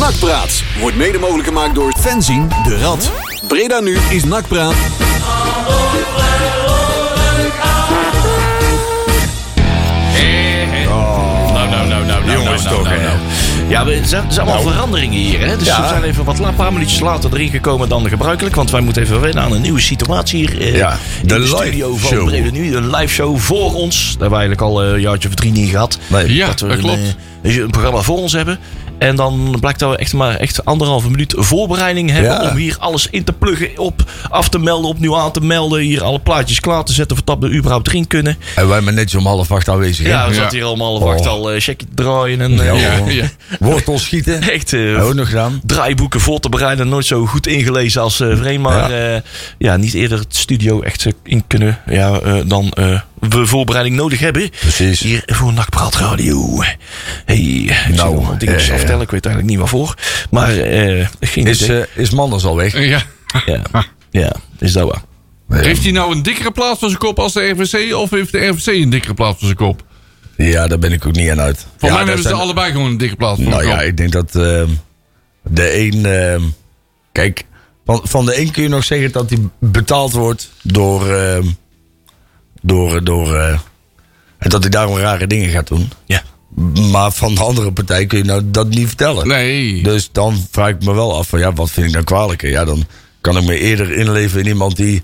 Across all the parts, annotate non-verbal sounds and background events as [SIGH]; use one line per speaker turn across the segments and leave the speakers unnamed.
Nakpraat wordt mede mogelijk gemaakt door Fenzien de Rad. Breda nu is Nakpraat.
Nou, nou, nou, nou, nou,
Jongens
nou,
toch,
nou,
hè. Nou.
nou. Ja, we- het zijn het zijn allemaal veranderingen hier. Hè? Dus
Ja.
we zijn even wat la- paar minuutjes later erin gekomen dan gebruikelijk. Want wij moeten even wennen aan een nieuwe situatie hier. eh,
Ja,
in
de
de,
live
studio van
show.
Brede Nu. Een live show voor ons. Daar hebben we eigenlijk al eh, een jaartje of drie niet gehad.
Nee.
Ja,
we
dat
een,
klopt.
eh, een programma voor ons hebben. En dan blijkt dat we echt maar echt anderhalve minuut voorbereiding hebben
Ja.
om hier alles in te pluggen, op, af te melden, opnieuw aan te melden. Hier alle plaatjes klaar te zetten voordat we überhaupt erin kunnen.
En wij zijn netjes om half acht aanwezig. hè?
Ja, we
Ja.
zaten hier allemaal wacht
Oh.
al eh checkie te draaien en eh,
Ja,
Ja,
hoor.
ja.
Wortels schieten.
[LAUGHS] echt eh,
Hebben we ook nog gedaan.
draaiboeken voor te bereiden. Nooit zo goed ingelezen als eh Vreem, maar ja. ja, niet eerder het studio echt eh, in kunnen ja, eh, dan eh, we voorbereiding nodig hebben.
Precies.
Hier voor Nakpraat Radio. Hey, ik
Nou,
nou, wat dingetjes
eh,
aftellen, ik weet eigenlijk niet waarvoor. Maar eh geen
Is,
idee.
eh is Manders al weg?
Ja.
ja. ja, is dat waar.
Heeft hij nou een dikkere plaats voor zijn kop als de RVC? Of heeft de RVC een dikkere plaats voor zijn kop?
Ja, daar ben ik ook niet aan uit.
Voor
ja,
mij
daar
hebben ze
zijn-
allebei gewoon een dikke plaats voor
Nou
hun
ja,
kop.
ik denk dat ehm, de een. ehm, kijk, van, van de een kun je nog zeggen dat die betaald wordt door. ehm, door. door eh, en dat hij daarom rare dingen gaat doen.
Ja.
Maar van de andere partij kun je nou dat niet vertellen.
Nee.
Dus dan vraag ik me wel af van ja, wat vind ik dan kwalijker? Ja, dan kan ik me eerder inleven in iemand die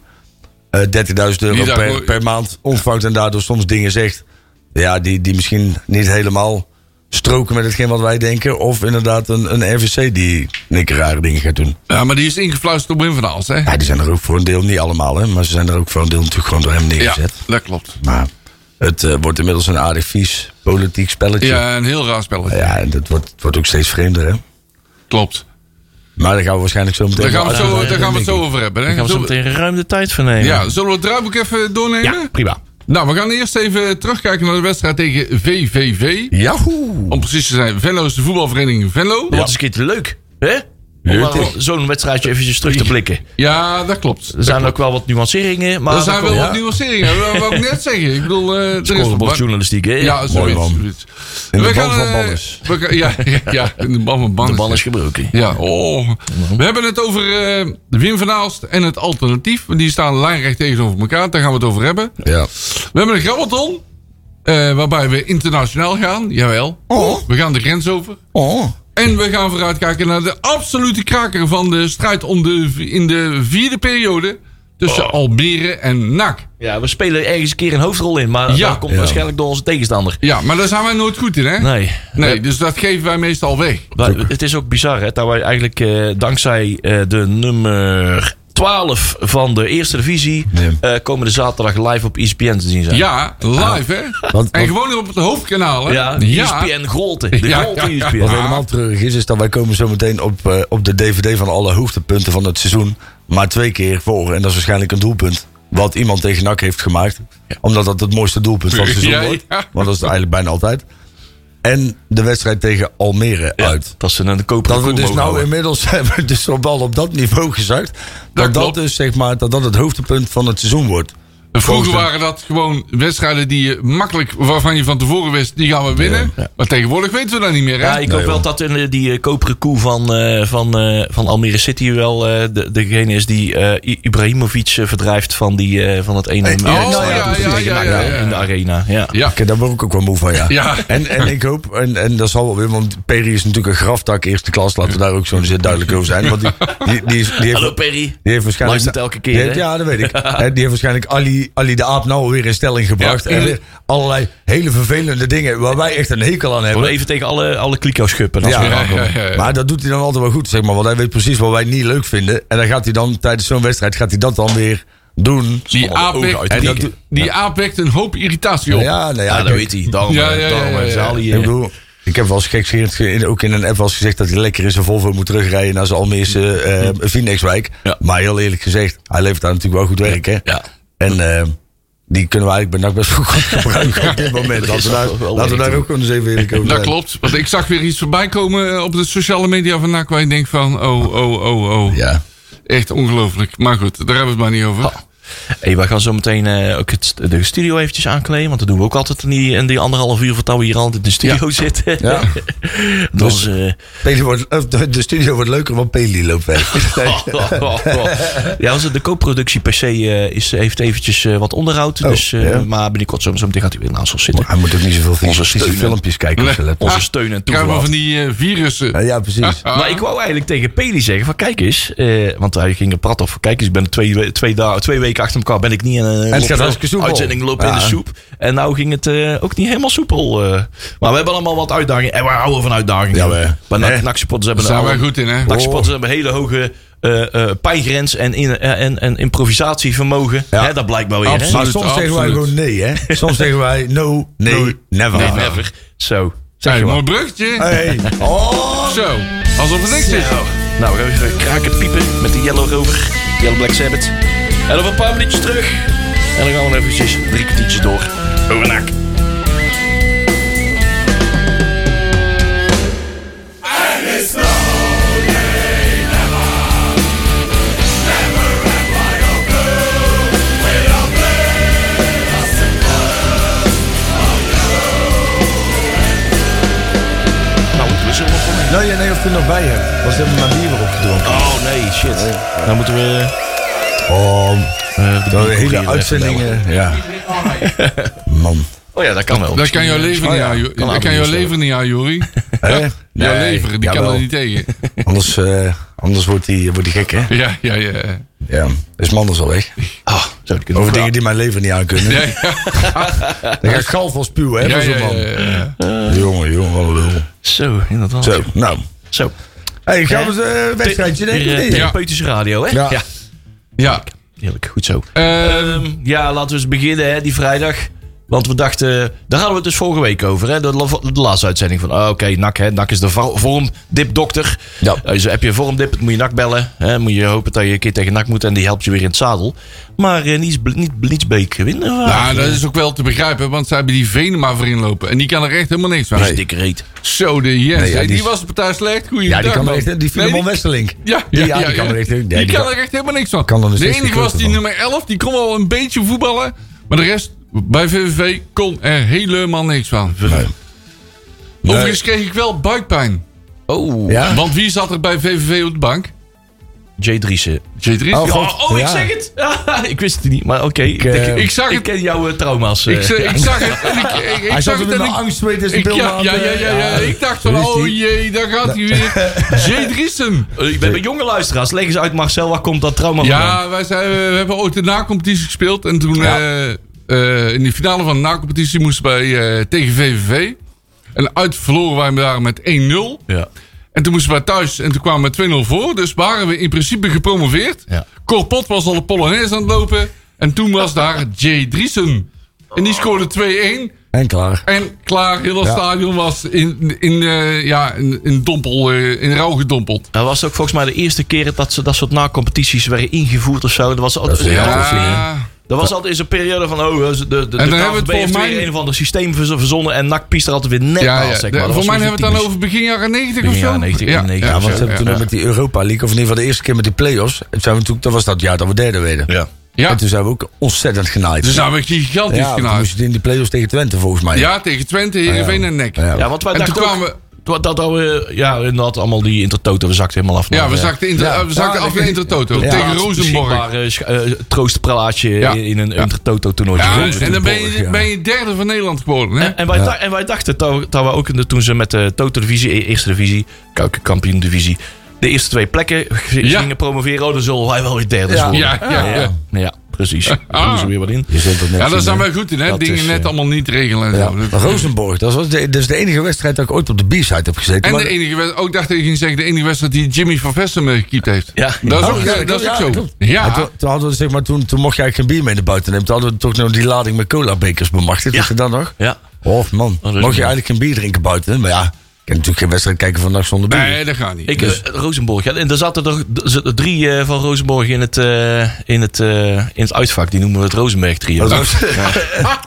eh 30.000 euro
Die daar
per,
gewoon-
per maand ontvangt en daardoor soms dingen zegt. Ja, die, die misschien niet helemaal stroken met hetgeen wat wij denken. Of inderdaad een, een RVC die een keer rare dingen gaat doen.
Ja, maar die is ingefluisterd op Wim van Aals, hè?
Ja, die zijn er ook voor een deel, niet allemaal hè, maar ze zijn er ook voor een deel natuurlijk gewoon door hem
Ja,
neergezet.
dat klopt.
Maar het eh, wordt inmiddels een aardig vies politiek spelletje. Ja,
Ja, een heel raar spelletje.
en dat wordt, het wordt ook steeds vreemder hè.
Klopt.
Maar daar gaan we waarschijnlijk zo meteen
Daar gaan we
wel
het zo,
uitgebreid
daar gaan we
in
het zo over hebben. Hè?
Daar gaan we zo
Zullen we-
meteen ruim de tijd voor nemen.
ja, zullen we het draaiboek even doornemen?
Ja, prima.
Nou, we gaan eerst even terugkijken naar de wedstrijd tegen VVV.
Yahoo!
Om precies te zijn, Venlo is de voetbalvereniging Venlo.
Wat is een keertje leuk, hè? Om
Leuk,
wel
hè?
zo'n wedstrijdje eventjes terug te blikken.
Ja, dat klopt.
Er zijn ook wel wat nuanceringen, maar...
Er zijn wel
Ja.
wat nuanceringen, dat wou ik net zeggen. Ik bedoel, eh, er is
Scorebord
wat-
journalistiek, hè?
Ja,
Mooi,
zoiets.
man.
zoiets.
In de
We
band
gaan,
van
eh,
Bannes.
we gaan- Ja, [LAUGHS] ja, ja, in de band van
de
Bannes.
bal is gebroken.
Ja, oh. We hebben het over eh, Wim van Aalst en het alternatief. Want Die staan lijnrecht tegenover elkaar. Daar gaan we het over hebben.
Ja.
We hebben een grabbelton. eh, waarbij we internationaal gaan. Jawel.
Oh.
We gaan de grens over.
Oh.
En we gaan vooruitkijken naar de absolute kraker van de strijd om de, in de vierde periode. Tussen
Oh.
Almere en NAC.
Ja, we spelen ergens een keer een hoofdrol in, maar
Ja.
dat komt
Ja.
waarschijnlijk door onze tegenstander.
Ja, maar daar zijn wij nooit goed in, hè?
Nee.
Nee, dus dat geven wij meestal weg.
Maar het is ook bizar, hè, dat wij eigenlijk eh, dankzij eh, de nummer 12 van de Eerste Divisie
Ja.
eh, komende zaterdag live op E ESPN te zien zijn.
Ja, live, hè?
want-
en gewoon op het hoofdkanaal, hè?
Ja, E ESPN Grolte. De E
Ja,
Grolte
ja, ja.
ESPN.
Wat helemaal treurig is, is dat wij komen zo meteen op, eh, op de DVD van alle hoogtepunten van het seizoen. Maar twee keer voor. En dat is waarschijnlijk een doelpunt. Wat iemand tegen NAC heeft gemaakt. Omdat dat het mooiste doelpunt van het seizoen
Ja,
wordt.
ja.
Want dat is het eigenlijk bijna altijd. En de wedstrijd tegen Almere
Ja,
uit.
Dat ze een eh, koperen
Dat we
koe
dus
mogen
nou
houden.
inmiddels [LAUGHS] hebben dus de bal op dat niveau gezakt. Dat dat,
klopt.
dus, zeg maar, dat dat het hoogtepunt van het seizoen wordt.
Vroeger
Constant.
waren dat gewoon wedstrijden die je makkelijk, waarvan je van tevoren wist, die gaan we winnen. Maar tegenwoordig weten we dat niet meer, hè?
Ja, ik hoop
Nee,
wel
joh.
dat eh, die eh, koperen koe van, eh, van, eh, van Almere City wel eh, de, degene is die eh, I- Ibrahimovic eh, verdrijft van, die, eh, van het ene
Oh,
eh,
ja,
tegen
ja, ja,
NAC,
ja,
eh,
ja.
in de arena. Ja.
ja.
Kijk, daar word ik ook wel moe van, ja.
Ja.
En, en ik hoop, en, en dat zal wel weer, want Perry is natuurlijk een graftak eerste klas. Laten we daar ook zo eh, duidelijk over zijn. Want die, die, die, is- die heeft,
Hallo Perry.
die heeft waarschijnlijk...
Maakt het elke keer,
die heeft-
hè?
Ja, dat weet ik.
[LAUGHS]
Hè, Die heeft waarschijnlijk Ali, Ali de Aap nou weer in stelling gebracht.
Ja.
en weer allerlei hele vervelende dingen waar wij echt een hekel aan
Gewoon
hebben.
even tegen alle, alle kliko's schuppen. Als
Ja,
we eraan
ja,
komen.
ja, ja.
maar dat doet hij dan altijd wel goed, zeg maar. Want hij weet precies wat wij niet leuk vinden. En dan gaat hij dan tijdens zo'n wedstrijd gaat hij dat dan weer doen.
Die aap,
ogen
wekt,
uit de
die,
kieken.
die aap wekt een hoop irritatie op.
Ja, nou ja,
Ja, dat
kijk,
weet hij. Daarom,
Ja,
ja,
ja, ja,
daarom
ja,
hebben ze
ja.
al die,
Ik
eh,
bedoel, ik heb wel eens gekscherend, ge- ook in een app wel eens gezegd dat hij lekker in zijn Volvo moet terugrijden naar zijn Almeerse eh Vinex-wijk.
Ja.
Maar heel eerlijk gezegd, hij levert daar natuurlijk wel goed werk, hè?
Ja.
En eh, die kunnen we eigenlijk bij NAC best wel goed [LAUGHS] gebruiken op dit moment. Laten we daar,
wel werk
laten we daar
toe.
ook gewoon eens even eerlijk over
Dat
zijn.
klopt, want ik zag weer iets voorbij komen eh, op de sociale media van NAC waar ik denk van, oh, oh, oh, oh.
Ja. Ah,
Echt ongelooflijk. Maar goed, daar hebben we het maar niet over.
Hey, wij gaan zo meteen eh, ook het, de studio eventjes aankleden. Want dat doen we ook altijd in die, in die anderhalf uur voordat we hier altijd in de studio zitten.
Ja.
[LAUGHS] dus, eh,
Peli wordt, of de de studio wordt leuker, want Peli loopt
[LAUGHS]
weg. Nee.
ja, onze- de co-productie per se eh, is, heeft eventjes eh, wat onderhoud. dus, eh,
Oh, ja.
Maar binnenkort zo, zo meteen gaat hij weer naast ons zitten. Ah,
Hij moet ook niet zoveel
Onze
filmpjes,
steunen.
filmpjes kijken.
Nee.
als je let op.
Onze steun en
Krijgen we
toeverlaat.
van die eh, virussen.
Ja, ja,
[LAUGHS]
precies.
Ah.
Maar ik wou eigenlijk tegen Peli zeggen van kijk eens, eh, want hij ging er prat over. Kijk eens, ik ben twee, we- twee, dagen, twee weken achter elkaar ben ik niet in een eh,
gaat hartstikke soepel.
uitzending lopen in
Ja.
de soep. En nou ging het eh, ook niet helemaal soepel. eh. Maar we hebben allemaal wat uitdagingen en we houden van uitdagingen.
Ja, we-
maar
hè?
NAC- NAC-supporters hebben
Daar zijn
alle-
wij goed in, hè?
NAC-supporters hebben een hele hoge eh, eh, pijngrens en, in, eh, en, en improvisatievermogen.
Ja.
Hè, dat blijkt wel weer. hè?
Absoluut.
Maar soms zeggen wij
absoluut.
gewoon nee, hè? Soms zeggen wij no, nee, never.
Nee, never. Zo, zeg
Hey,
je
mooi
maar.
bruggetje.
Hey. Oh,
Zo, alsof het niks is.
Nou, nou, we gaan even kraken piepen met de Yellow Rover. Yellow Black Sabbath. En over een paar minuutjes terug. En dan gaan we eventjes drie kwartiertjes door. Over Nou, nak. Nou, we zullen nog wel mee.
Nou, ja, nee, of je nog bij hebt. Want ze hebben maar bier weer opgedronken.
Oh nee, shit. Dan moeten we.
Oh,
eh,
dat
boer hier
hele
even bellen.
uitzendingen. Ja. Man.
Oh ja, dat kan wel.
Dat kan jouw lever
Oh
niet
ja,
aan, Jo-
kan
dat kan
aanbieden,
jouw
zo.
lever niet aan, Jori.
Hè?
Jouw
Nee,
lever, die kan
jawel.
er niet
[LAUGHS]
tegen.
Anders, eh, anders wordt die, wordt die gek, hè?
Ja, ja, ja.
Ja. Is Manders al weg.
Ah, zou het kunnen.
Over dingen die mijn lever niet aan kunnen.
Ja, ja,
[LAUGHS] Dan ga ik galf als spuwen, hè?
ja,
van zo'n
ja,
man.
ja, ja.
Jongen, jongen, wat een lul.
Zo, inderdaad.
Zo, nou.
Zo.
hey, gaan we het eh, wedstrijdje denken?
Weer, eh,
Nee, hè?
Therapeutische radio, hè?
Ja.
Ja,
Heerlijk, goed zo.
eh,
Ehm, ja, laten we eens beginnen, hè, die vrijdag. Want we dachten, daar hadden we het dus vorige week over, hè? De, la- de laatste uitzending van, ah, oké, nak, hè, nak is de va- vormdipdokter.
Ja.
Dus heb je een vormdip, dan moet je nak bellen. Hè? Moet je hopen dat je een keer tegen nak moet en die helpt je weer in het zadel. Maar eh, niets, bl- niet Blitzbeek winnen. Ah,
nou, dat is ook wel te begrijpen, want ze hebben die Venema voor inlopen. En die kan er echt helemaal niks van.
is dikke reet.
Zo, de Jens.
Nee, ja,
hè, die,
die is-
was de partij slecht. Goeiedag,
Ja, die kan er
man.
echt, die
Nee,
Filemon Westerling.
Ja,
Die-
ja,
ja,
ja,
die kan
ja.
er echt- ja,
Die
die
kan
kan-
er echt helemaal niks van.
kan er dus
de
niks
enige was die
van.
nummer 11, die kon wel een beetje voetballen. Maar de rest bij VVV kon er helemaal niks van.
Oh,
Overigens kreeg ik wel buikpijn.
Oh,
Ja?
Want wie zat er bij VVV op de bank?
J. Driessen.
J3.
Oh, God.
Oh, oh, ik
Ja.
zeg het! [LAUGHS] ik wist het niet, maar oké. Ik,
eh,
denk-
ik zag
ik
het.
ken jouw eh, trauma's. eh.
Ik, ze- ik zag het en ik, ik, ik
Hij
zag
zat
het
er
en
met
ik,
een angst mee tussen
ik-
beelden eh,
ja, ja, ja, ja, ja. Ik dacht van,
Wist
oh
hij?
jee, daar gaat hij weer. J. Driessen.
Eh, ik ben bij jonge luisteraars. Leg eens uit, Marcel, waar komt dat trauma vandaan?
Ja, wij zijn, we hebben ooit de na-competitie gespeeld. En toen eh, eh, in de finale van de na-competitie moesten wij eh, tegen VVV. En uit verloren wij daar met 1-0.
Ja.
En toen moesten wij thuis en toen kwamen we 2-0 voor. Dus waren we in principe gepromoveerd.
Ja.
Corpot was al de Polonaise aan het lopen. En toen was daar Jay Driesen. En die scoorde 2-1.
En klaar.
En klaar, heel het
Ja.
stadion was in, in, eh, ja, in, in, dompel, eh, in rouw gedompeld.
Dat was ook volgens mij de eerste keer dat ze dat soort na-competities werden ingevoerd of zo. Dat was altijd,
Dat is Ja,
dat was altijd eens een periode van, oh, de, de, de
dan
KNVB
hebben we het
heeft
volgens
weer
mij-
een of ander systeem verz- verzonnen en NAC piest er altijd weer net
Ja,
naast,
ja.
zeg maar. Dat
voor
was
mij
weer
hebben we het
typisch.
dan over begin jaren 90 of
Begin
zo.
jaren 90, 91
ja,
of
Ja, want
zo,
ze hebben toen
ja.
ook met die Europa League, of in ieder geval de eerste keer met die play-offs. Toen zijn we toen, dat was dat jaar dat we derde werden.
Ja.
Ja.
En toen zijn we ook ontzettend genaaid.
Dus nou, we gigantisch
ja,
ja,
toen moest je in die play-offs tegen Twente volgens mij.
Ja, tegen Twente, Heerenveen en Nek.
Ja.
Ja, want wij
En toen
dachten ook-
kwamen we...
toen- dat we, ja, inderdaad, allemaal die intertoto, we zakten helemaal af.
Ja,
naar,
we
eh,
zakten, inter,
Ja.
we zakten
Ja,
af
dat-
naar Intertoto.
Ja.
Tegen
het
Rozenborg.
beschikbare sch- eh, troostpraatje
Ja.
in een
Ja.
intertoto toernooi.
Ja, en dan ben je,
ja.
ben je derde van Nederland geworden, hè?
En, en wij, da- en wij dachten dat, dat we ook in de, toen ze met de Toto-divisie, e- Eerste Divisie, Kampioen-divisie, de eerste twee plekken g-
Ja.
gingen promoveren. Oh, dan zullen wij wel weer derde
Ja.
worden.
Ja, ja, Ah. ja.
Ja, ja, precies. Daar doen ze weer wat in.
Je zult het net
Ja, daar
zien,
zijn
hè.
wij goed in, hè?
Dat
Dingen
is,
net
eh,
allemaal niet regelen en
Ja.
zo. Dat-
Rozenborg, dat was de, dat is de enige wedstrijd dat ik ooit op de B-side heb gezeten.
En
Maar-
de E- enige wedstrijd, ook dacht ik, je ging zeggen, de enige wedstrijd die Jimmy van Vesten eh, gekiept heeft.
Ja.
Dat is
Oh,
ook,
ja,
eh, dat is ook
klopt, ja,
zo.
klopt. En
Ja,
toen, toen hadden we zeg maar, toen, toen mocht je eigenlijk geen bier mee naar buiten nemen. Toen hadden we toch nog die lading met cola bekers bemachtigd.
Ja.
Is er dan nog?
Ja.
Oh man,
dat is
mocht
mooi.
je eigenlijk geen bier drinken buiten? Maar ja, kan natuurlijk geen wedstrijd kijken vandaag zonder bier.
Nee, dat gaat niet.
Ik,
Dus-
eh, Rozenborg. Ja, en er zaten er, er zaten drie eh, van Rozenborg in het, eh, in, het, eh, in het uitvak. Die noemen we het Rozenberg trio.
Dat was- Oh,
dat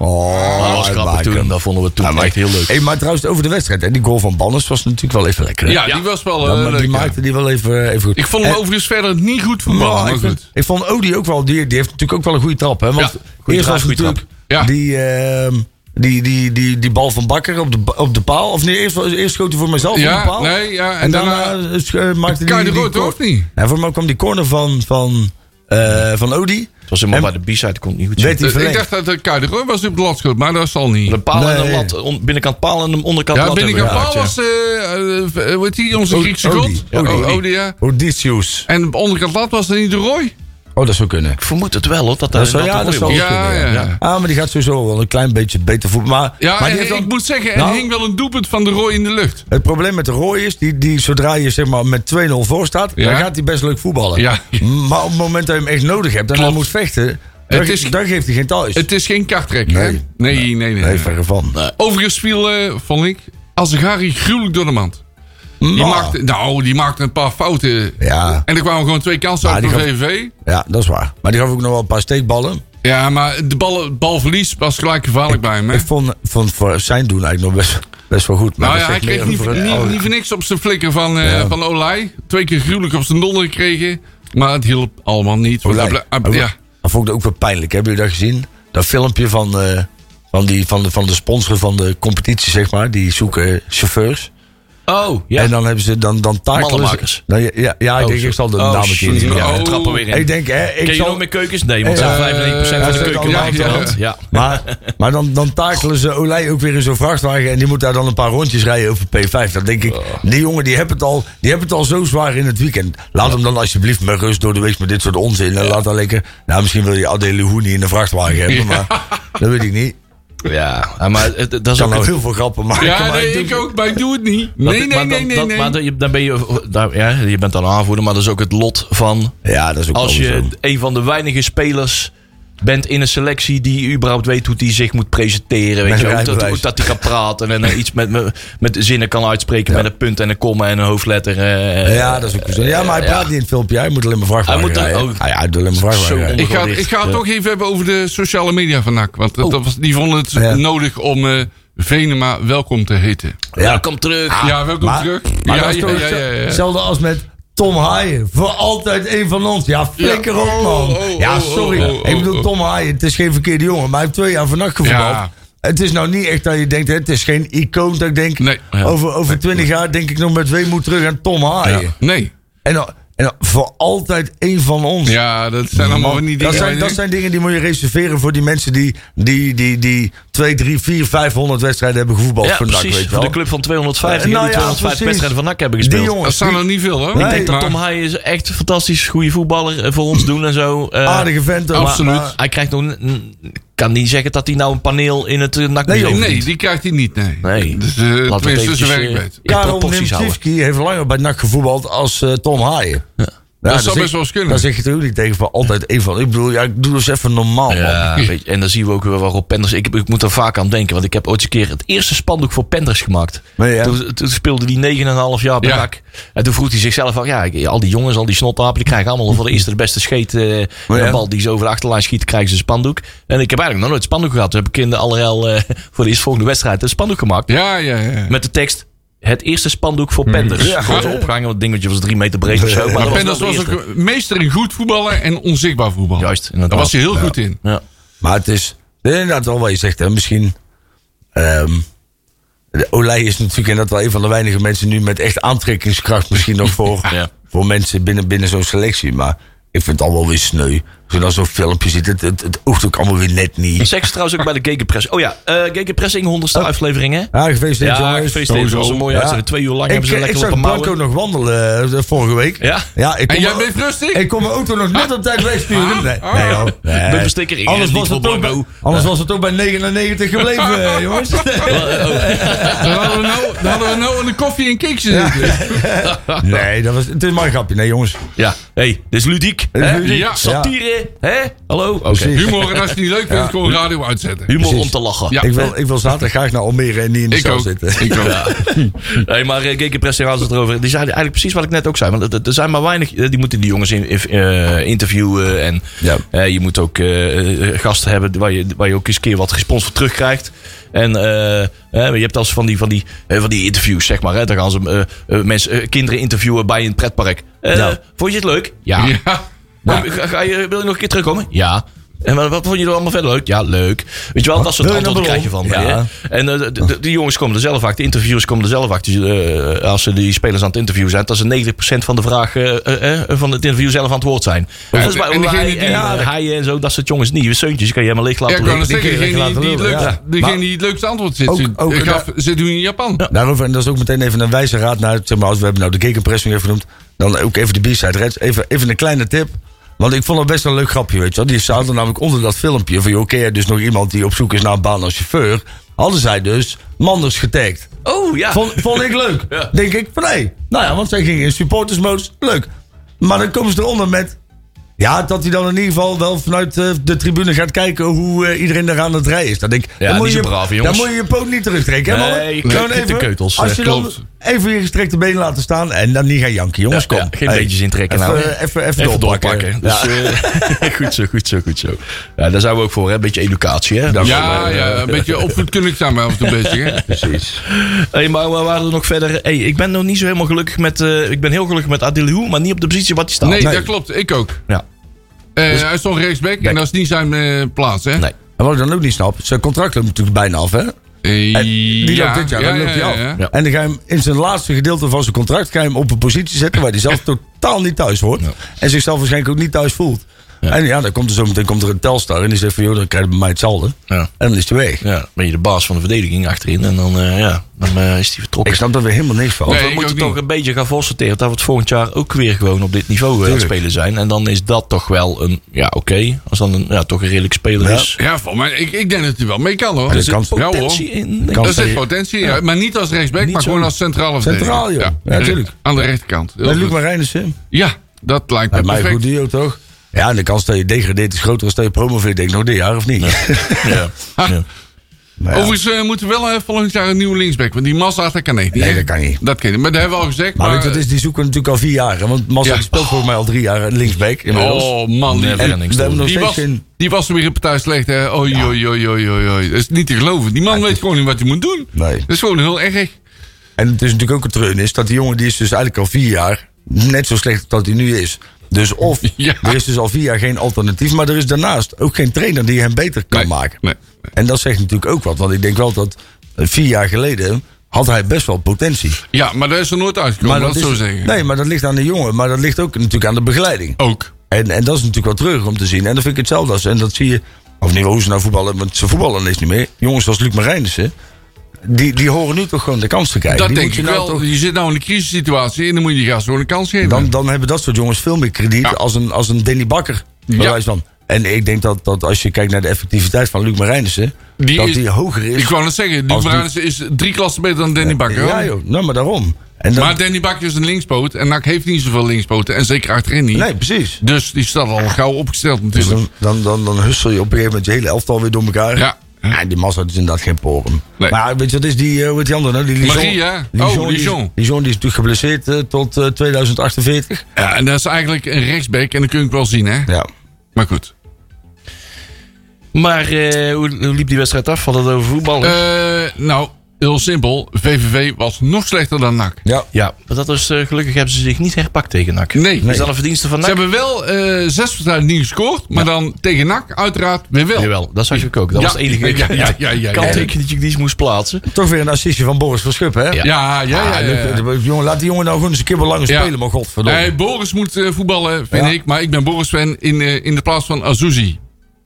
was grappig
uitmaken.
toen. Dat vonden we toen
Ja, maar-
echt heel leuk.
Hey, maar trouwens, over de wedstrijd. Hè? Die goal van Banners was natuurlijk wel even lekker. hè?
ja, die was wel
Dan-
eh,
maar
leuk.
die
ja.
maakte die wel even, even goed.
Ik vond hem
En-
overigens verder niet goed
Ja,
voetballen, maar
Eh, Nou, ik,
goed.
vond, ik vond Odie ook wel, die, die heeft natuurlijk ook wel een goede trap. Hè? Want
Ja,
goede
eerst
trap,
was
goede
natuurlijk
trap. Ja.
die, ehm, die, die, die, die bal van Bakker op de, ba- op de paal. Of nee, eerst, eerst schoot hij voor mezelf op
Ja,
de paal.
nee, ja,
en,
en
daarna,
daarna-
eh, sch- eh, maakte hij
Kan je
die,
de rood,
die
toch? Of niet?
Ja, voor mij kwam die corner van, van, eh, van Odie.
Het was helemaal
En-
bij de b-side, kon het niet goed
Werd
zien.
hij
Eh, ik
verlengd.
dacht dat de Kuijder Roy was die op de lat schoot, maar dat zal niet.
De paal en de
Nee.
lat, on- binnenkant paal en de onderkant
Ja,
lat.
ben ik
hebben
aan
we
paal
gemaakt,
was, eh, eh, hoe heet die, onze
O-
Griekse
Odi.
god?
Ja,
Oh,
Odi.
Odi, ja.
Odysseus.
En op de onderkant lat was er niet de Roy?
Oh, dat zou kunnen.
ja. Ik vermoed het wel, hoor. Dat,
Eh, Dat zou- ja,
de
dat
Roy
zou-
was.
Ja,
kunnen,
ja. ja.
Ah, maar die gaat sowieso wel een klein beetje beter voetbal. Maar, maar die
en
heeft
ik
dan-
moet zeggen, er
Nou,
hing wel een doelpunt van de Roy in de lucht.
Het probleem met de Roy is, die, die, zodra je zeg maar, met 2-0 voor staat,
Ja.
dan gaat hij best leuk voetballen.
Ja.
Maar op het moment dat je hem echt nodig hebt en hij
Klopt.
moet vechten, dan,
Het is-
dan geeft hij geen thuis.
Het is geen karttrek, hè?
Nee.
Nee, nee, nee. nee.
Nee, verre van.
Overigens viel, eh, vond ik, Azegari gruwelijk door de mand. Die
Maar-
maakte, nou, die maakte een paar fouten.
Ja.
En er kwamen gewoon twee kansen
Maar
uit
die
voor
gaf-
VVV.
ja, dat is waar. Maar die gaf ook nog wel een paar steekballen.
Ja, maar de bal, balverlies was gelijk gevaarlijk bij hem. Hè?
Ik vond, vond voor zijn doen eigenlijk nog best, best wel goed. Maar
nou
dat
ja, hij
zegt
kreeg
meer
niet
over
voor,
het-
niet,
oh,
niet voor niks op zijn flikker van, eh
Ja.
van Olij. Twee keer gruwelijk op zijn donder gekregen. Maar het hielp allemaal niet. want
Olij.
hij ble-
Ook-
ah, ja.
Dat vond ik ook wel pijnlijk. Hebben jullie dat gezien? Dat filmpje van, eh, van, die, van, de, van de sponsor van de competitie, zeg maar. Die zoeken eh, chauffeurs.
Oh, ja.
En dan hebben ze dan, dan takelen ze-
Mannenmakers.
Dan, ja, ja, ja, ik
Oh,
denk, ik zal de
oh,
naam een keer
shit.
niet
Ja,
noemen.
we
Oh.
trappen weer in.
Ik denk, hè, ik
Ken je
zal...
nog meer keukens? Nee, want zo'n
Ja,
95% van
eh,
de keuken
ja,
maakt
ja.
de hand. Ja.
Maar, maar dan, dan takelen ze Olij ook weer in zo'n vrachtwagen. En die moet daar dan een paar rondjes rijden over P5. Dan denk ik,
Oh.
die jongen die hebben het al, die hebben het al zo zwaar in het weekend. Laat hem dan alsjeblieft met rust door de week met dit soort onzin. En laat dan lekker. Nou, misschien wil je Adele niet in een vrachtwagen hebben. Maar dat weet ik niet. Ik
Ja, maar het- het- dat is
kan
ook
nou
een
heel veel grappen maken.
Ja,
maar
nee,
doe-
ik ook, maar ik doe het niet.
Dat-
Nee, nee,
maar dan,
nee, nee.
dat-
nee.
maar dan, je- dan ben je, daar- ja, je bent dan een aanvoerder, maar dat is ook het lot van
Ja, dat is ook
als
wel
je
zo.
een van de weinige spelers bent in een selectie die überhaupt weet hoe die zich moet presenteren. Weet
Met
je,
een
hoe dat,
rijbewijs.
hoe dat die gaat praten en eh, iets met, met, met zinnen kan uitspreken met een punt en een komma en een hoofdletter. eh,
Ja, dat is ook zo. Ja, maar hij praat niet in het filmpje. Hij moet alleen maar vrachtwagen
Hij moet dan-
rijden.
oh.
Hij, hij doet alleen maar vrachtwagen
Zo
rijden.
Ik ga,
Ondergelicht,
ik ga het
ja.
toch even hebben over de sociale media van NAC. Want dat- dat was, die vonden het
Ja.
nodig om eh, Venema welkom te heten.
Ja. Ah,
Welkom terug.
ja, welkom
Maar,
terug.
maar
ja,
dat is
ja,
toch
ja, ja, ja.
hetzelfde als met Tom Haaien. Voor altijd een van ons. Ja, flikker
Ja.
op, man.
Oh, oh,
ja,
oh,
sorry.
oh, oh,
ik bedoel,
oh.
Tom Haaien, het is geen verkeerde jongen. Maar hij heeft twee jaar vannacht gevoetbald.
Ja.
Het is nou niet echt dat je denkt, hè, het is geen icoon dat ik denk...
Nee. Ja.
over, over 20 jaar denk ik nog met weemoed terug aan Tom Haaien.
Ja. Nee.
En, dan- en dan voor altijd één van ons.
Ja, dat zijn allemaal
Man,
van die dingen.
dat, zijn,
waar
dat
je
zijn dingen die moet je reserveren voor die mensen die, die, die, die 2, 3, 4, 500 wedstrijden hebben gevoetbald
Ja,
voor NAC,
precies.
weet je
Voor
wel.
de club van 250
Eh, nou
die
ja,
205
precies.
wedstrijden van NAC hebben
Die
gespeeld.
jongens,
denkt. Dat zijn
die-
er niet veel hoor.
Ik denk dat
maar-
Tom Haaien is echt een fantastisch goede voetballer eh, voor ons doen en zo. Eh,
aardige vent. hoor.
Absoluut.
Maar- maar-
Hij krijgt nog. n- n- kan niet zeggen dat hij nou een paneel in het nac
Nee, joh.
Nee, die krijgt hij niet. Nee.
Nee.
Dus, eh,
Laten we het
tenminste,
eventjes,
zijn
eh,
werkbeet.
in
Karel
proporties houden.
Nemtjewski heeft langer bij NAC gevoetbald als eh, Tom Haaien. Ja,
zou
dan
best
zeg-
wel eens kunnen.
Dan zeg je toch ook niet tegen van altijd één van. Ik bedoel, ja, ik doe dus even normaal, man.
Ja, weet je, en dan zien we ook weer waarop Penders. Ik, ik moet er vaak aan denken, want ik heb ooit een keer het eerste spandoek voor Penders gemaakt.
Maar ja.
Toen, toen speelde hij 9,5 jaar bij
Ja.
NAC. En toen vroeg hij zichzelf af: ja, ik- al die jongens, al die snotapen, die krijgen allemaal voor de eerste de beste scheet. eh
Maar Oh ja.
Een bal die ze over de achterlijn schieten, krijgen ze een spandoek. En ik heb eigenlijk nog nooit spandoek gehad. Toen heb ik in de allerijl eh, [LAUGHS] voor de eerst volgende wedstrijd een spandoek gemaakt.
Ja, ja, ja.
Met de tekst. Het eerste spandoek voor Penders.
Ja.
Gewoon zo opgehangen, want het dingetje was drie meter breed of zo. Maar, dat
Hmm. Maar
was
Penders
wel de
was
eerste.
ook meester in goed voetballen en onzichtbaar voetballen.
Juist,
Daar
inderdaad.
was hij heel goed in.
Ja.
Maar het is inderdaad wel wat je zegt. Hè. Misschien. ehm, de Olij is natuurlijk inderdaad wel een van de weinige mensen nu met echt aantrekkingskracht. Misschien nog voor,
Ja.
voor mensen binnen, binnen zo'n selectie. Maar ik vind het al wel weer sneu. Als je dan zo'n filmpje ziet, het, het, het oogt ook allemaal weer net
Ik
niet.
zeg ze trouwens ook bij de Gekenpress. Oh ja, eh Gekenpressing, 100ste
Oh.
aflevering hè?
Ja, Ah, gefeliciteerd
Ja,
jongens.
gefeliciteerd. Het was een mooie
Ja.
uitzending. Twee uur lang
Ik, eh,
hebben ze
ik,
lekker op
zag
een
Blanco
mouwen.
nog wandelen eh, de vorige week.
Ja?
ja ik
En
kon
jij
me-
bleef rustig?
Ik kon mijn auto nog net op tijd wegsturen.
Ah,
Nee,
ah.
nee, joh. Nee.
Bumpersticker, ik
Anders,
ren
was
eh, niet
het
voor
ook bij,
Blanco.
anders was het ook bij 99 gebleven,
[LAUGHS]
eh, jongens.
Dan hadden we nou, dan hadden we nou aan de koffie en cakes zitten.
Nee, dat was, het is maar een grapje. Nee, jongens.
Ja, hey, dit is ludiek.
is
hè?
ludiek.
Ja. Satire. Hè? Hallo? Oké.
Precies.
Humor, en als je het niet leuk vindt, gewoon radio uitzetten.
Humor
Precies.
om te lachen.
Ja.
Ik wil, ik wil zaterdag graag naar Almere en niet in de
Ik
zaal
ook.
zitten.
Ik ook.
Nee, maar eh, GK Press had het erover. Die zei eigenlijk precies wat ik net ook zei. Want er- er zijn maar weinig. eh, Die moeten die jongens in, if- eh, interviewen. En
Ja.
eh, je moet ook eh, eh, gasten hebben waar je, waar je ook eens een keer wat respons voor terugkrijgt. En eh, eh, je hebt als van die, van, die, eh, van die interviews, zeg maar. Hè. Dan gaan ze eh, eh, mensen, eh, kinderen interviewen bij een pretpark. Eh,
Ja.
Vond je het leuk?
Ja.
ja. Kom, ga, ga je, wil je nog een keer terugkomen? Ja. En wat, wat vond je er allemaal verder leuk? Ja, leuk. Weet je wel, dat soort
Wil je
antwoorden
naar
krijg je van.
Ballon?
Ja.
Ja.
En eh, de- de- die jongens komen er zelf achter. De interviewers komen er zelf achter. eh, als ze die spelers aan het interview zijn. Dat ze 90% van de vraag eh, eh, eh, van het interview zelf aan het woord zijn. dat is bij
en degene
Olij
die-
en
Ja,
eh, Haaien en zo. Dat soort jongens niet. Zeuntjes kan je helemaal leeg laten
Ik kan het
liggen.
zeggen,
kun je
degene die,
laten
die, het
lullen,
leukste-
ja.
degene
Maar-
die het leukste antwoord zit,
Ook-
zit,
ook-
eh, gaf-
daar-
zit nu in Japan.
Daarover, en dat is ook meteen even een wijze raad naar, zeg maar, als we hebben nou de gegenpressing even genoemd, dan ook even de B-side Reds. Even, even een kleine tip. Want ik vond het best wel een leuk grapje, weet je wel. Die zaten namelijk onder dat filmpje van, joh, ken jij dus nog iemand die op zoek is naar een baan als chauffeur? Hadden zij dus Manders getagd.
Oh ja.
Vond, vond ik leuk.
Ja.
Denk ik van, nee. Nou ja, want zij gingen in supportersmodus. Leuk. Maar dan komen ze eronder met... Ja, dat hij dan in ieder geval wel vanuit eh, de tribune gaat kijken hoe eh, iedereen daar aan het rijden is. Dan denk ik,
Ja,
dan
niet
moet
zo
je,
braaf,
dan
jongens.
moet je je poot niet terugtrekken. hè,
Nee,
mannen?
je
Gewoon
kut- de keutels,
Als
eh,
je dan
klopt.
even je gestrekte been laten staan en dan niet gaan janken. Jongens,
Ja,
kom.
ja, geen beentjes intrekken
Even,
nou.
eh, even, even,
Even
doorpakken.
doorpakken.
Ja.
Dus, eh, [LAUGHS] goed zo, goed zo, goed zo. Ja, daar zijn we ook voor, hè? Een beetje educatie, hè?
Ja, ja, een beetje opvoedkundig zijn we af en toe bezig. Hè?
eh, [LAUGHS] precies.
Hey, maar we waren er nog verder. Hey, ik ben nog niet zo helemaal gelukkig met. eh, ik ben heel gelukkig met Adil Hoe, maar niet op de positie wat hij staat.
Nee, dat klopt. Ik ook.
Ja.
Eh,
Dus-
hij stond rechtsback en dat is niet zijn eh, plaats, hè?
Nee.
En wat ik dan ook niet snap, zijn contract loopt natuurlijk bijna af, hè?
Eh,
En die
ja,
loopt dit jaar,
ja,
dan loopt hij
ja,
af.
ja.
En dan ga je hem in zijn laatste gedeelte van zijn contract ga je hem op een positie zetten waar hij
[LAUGHS]
zelf totaal niet thuis hoort. En zichzelf waarschijnlijk ook niet thuis voelt. En ja, dan komt er zo meteen komt er een telstar en die zegt van joh, dan krijg je bij mij hetzelfde.
Ja.
En dan is hij weg.
Ja, ben je de baas van de verdediging achterin en dan, eh, ja, dan eh, is die vertrokken.
Ik snap daar weer helemaal niks van.
Nee.
Want
ik
we moeten
ook
toch
niet.
een beetje gaan constateren dat we het volgend jaar ook weer gewoon op dit niveau eh, aan het spelen zijn. En dan is dat toch wel een, ja oké, als dan een, ja, toch een redelijk speler
Ja.
is.
Ja, volgens mij, ik, ik denk dat hij wel mee kan, hoor.
Er
Er
Er
is
zit
kans-
ja, hoor.
potentie in. denk ik.
Kans-
dat is
dat
echt
je-
potentie, ja. maar niet als rechtsback,
Niet
maar
zo-
gewoon als centrale verdediger.
Centraal, joh. Ja, tuurlijk.
Aan de rechterkant. Heel
Met
goed.
Luc Marijnissen.
Ja, dat lijkt me
Met mij een goed
perfect.
duo toch? Ja, en de kans dat je degradeert is groter dan dat je promoveert denk ik nog dit jaar of niet. [LAUGHS]
Ja.
Ha.
Maar ja.
Overigens eh, moeten we wel eh, volgend jaar een nieuwe linksback. Want die Massa, dat kan niet.
Nee,
hè?
dat kan niet.
Dat kan niet. Maar dat hebben we al gezegd.
Maar weet je, dat is, die zoeken we natuurlijk al vier jaar. hè, Want Massa
Ja.
die speelt volgens mij al drie jaar linksback inmiddels.
Oh man, die,
Never
en-
ending
we
story.
hebben nog
die,
steeds
was,
geen...
die was weer een partij slecht. Hè? Oei, oei, oei, oei, oei, oei. Dat is niet te geloven. Die man weet gewoon niet wat hij moet doen.
Nee.
Dat is gewoon heel erg.
En het is natuurlijk ook een treun is dat die jongen die is dus eigenlijk al vier jaar net zo slecht als dat hij nu is. Dus of
[LAUGHS] Ja.
er is dus al vier jaar geen alternatief, maar er is daarnaast ook geen trainer die hem beter kan
Nee,
maken.
nee,
En dat zegt natuurlijk ook wat, want ik denk wel dat eh, vier jaar geleden had hij best wel potentie.
Ja, maar daar is er nooit uitgekomen, laat ik
is-
zo zeggen. Oh.
Nee, maar dat ligt aan de jongen, maar dat ligt ook natuurlijk aan de begeleiding.
Ook.
En, en dat is natuurlijk wel terug om te zien. En dat vind ik hetzelfde als. En dat zie je. Of niet hoe ze nou voetballen. Want ze voetballen niks niet meer. Jongens als Luc Marijnissen. Die, die horen nu toch gewoon de kans te krijgen.
dat
Die
denk
moet
ik
je nou
wel.
toch-
Je zit nou in een crisissituatie en dan moet je die gast gewoon een kans geven.
dan, dan hebben dat soort jongens veel meer krediet
Ja.
als, een, als een Danny Bakker. bij
Ja.
wijze van. En ik denk dat, dat als je kijkt naar de effectiviteit van Luc Marijnissen.
Die
dat
is-
die hoger is.
ik wou net zeggen, die
Als die-
Marijnissen is drie klassen beter dan Danny Bakker. hoor.
Ja joh, nou maar daarom. En dan,
Maar Danny Bakker is een linkspoot en NAC heeft niet zoveel linkspoten. En zeker achterin niet.
nee, precies.
Dus die staat al gauw opgesteld
Dus
natuurlijk.
dan, dan, dan, dan hussel je op een gegeven moment je hele elftal weer door elkaar.
Ja.
Ja, die massa is inderdaad geen porum.
Nee.
Maar weet je, wat is die, eh, hoe heet die andere? nou? Die Lijon.
Maria. Oh,
die is-
Lijon.
Lijon die is natuurlijk geblesseerd eh, tot eh, 2048.
Ja, en dat is eigenlijk een rechtsback en dat kun je ook wel zien, hè?
Ja.
Maar goed.
Maar eh, hoe, hoe liep die wedstrijd af? Had het over voetballen?
Eh, nou, heel simpel. VVV was nog slechter dan NAC.
Ja.
ja, maar dat is, eh, gelukkig hebben ze zich niet herpakt tegen NAC.
Nee.
Is dat een verdienste van
Ze
NAC?
hebben wel eh zes partijen niet gescoord, maar dan tegen NAC uiteraard weer wel.
Jawel, dat zag ik ook. Dat
Ja,
was het enige
ja, ja, ja, ja, ja.
kanttekenetje die ze moest plaatsen.
Toch weer een assistje van Boris van Schuppen, hè?
Ja, ja, ja.
Ah,
ja, ja.
Luc, eh, jongen, laat die jongen nou gewoon eens een keer wat langer
Ja.
spelen, maar godverdomme.
Eh, Boris moet eh, voetballen, vind
Ja.
ik. Maar ik ben Boris-fan in, eh, in de plaats van Azuzi,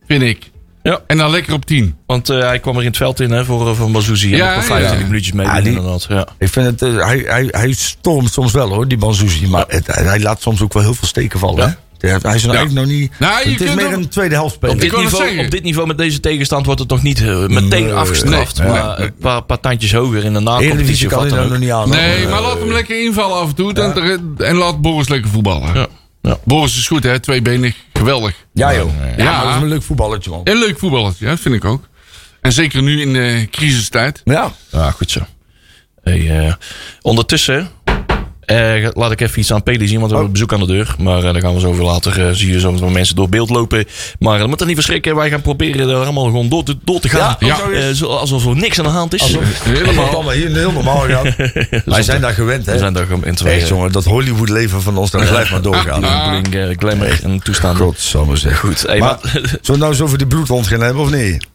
vind ik.
Ja.
En dan lekker op tien.
Want eh, hij kwam er in het veld in hè, voor, eh, voor Mazouzi.
Ja,
Ja, en 25
ja.
minuutjes mee.
Ah, die-
inderdaad. Ja.
Ik vind het, eh, hij, hij, hij stormt soms wel hoor, die Banzuzi. Maar het- hij- hij laat soms ook wel heel veel steken vallen.
Ja.
Hè? Hij is nou
Ja.
eigenlijk nog niet.
Nou, je
het is
kunt
meer
hem-
een tweede helft spelen.
Op, dit
wou net
niveau,
zeggen.
op dit niveau met deze tegenstand wordt het nog niet eh, meteen
Nee,
afgestraft.
nee, nee,
maar een paar, paar tandjes hoger in de
Eredivisie
nacompetitie. of
kan
wat
hij
dan
nou nog
ook.
niet aan. hoor.
Nee, maar laat hem lekker invallen af en toe. dan- En laat Boris lekker voetballen.
Ja. Ja.
Boris is goed, hè? Tweebenig. Geweldig.
Ja, joh. Ja,
Ja.
maar dat is een leuk voetballertje, man.
En leuk voetballertje, ja, vind ik ook. En zeker nu in de crisistijd.
Ja.
Ja, Ah, goed zo. Hey, eh, ondertussen eh, laat ik even iets aan Peli zien, want we hebben bezoek aan de deur. Maar eh daar gaan we zo weer later eh, zie je zo wat mensen door beeld lopen. Maar dat moet er niet verschrikken. Wij gaan proberen daar allemaal gewoon door te, door te gaan.
Ja,
zo
Eh, zo- alsof er niks aan de hand is.
Dat
Helemaal.
is allemaal hier heel normaal gegaan. Wij zijn daar gewend,
we
hè.
zijn daar gewoon in twee.
Echt, jongen, dat Hollywood-leven van ons, dat blijft maar doorgaan.
Bling, eh, glamour en toestaan.
Godsamme zeg.
Goed, hey,
Maar,
maar, [LAUGHS]
zullen we het nou eens over die bloedhond gaan hebben, of niet?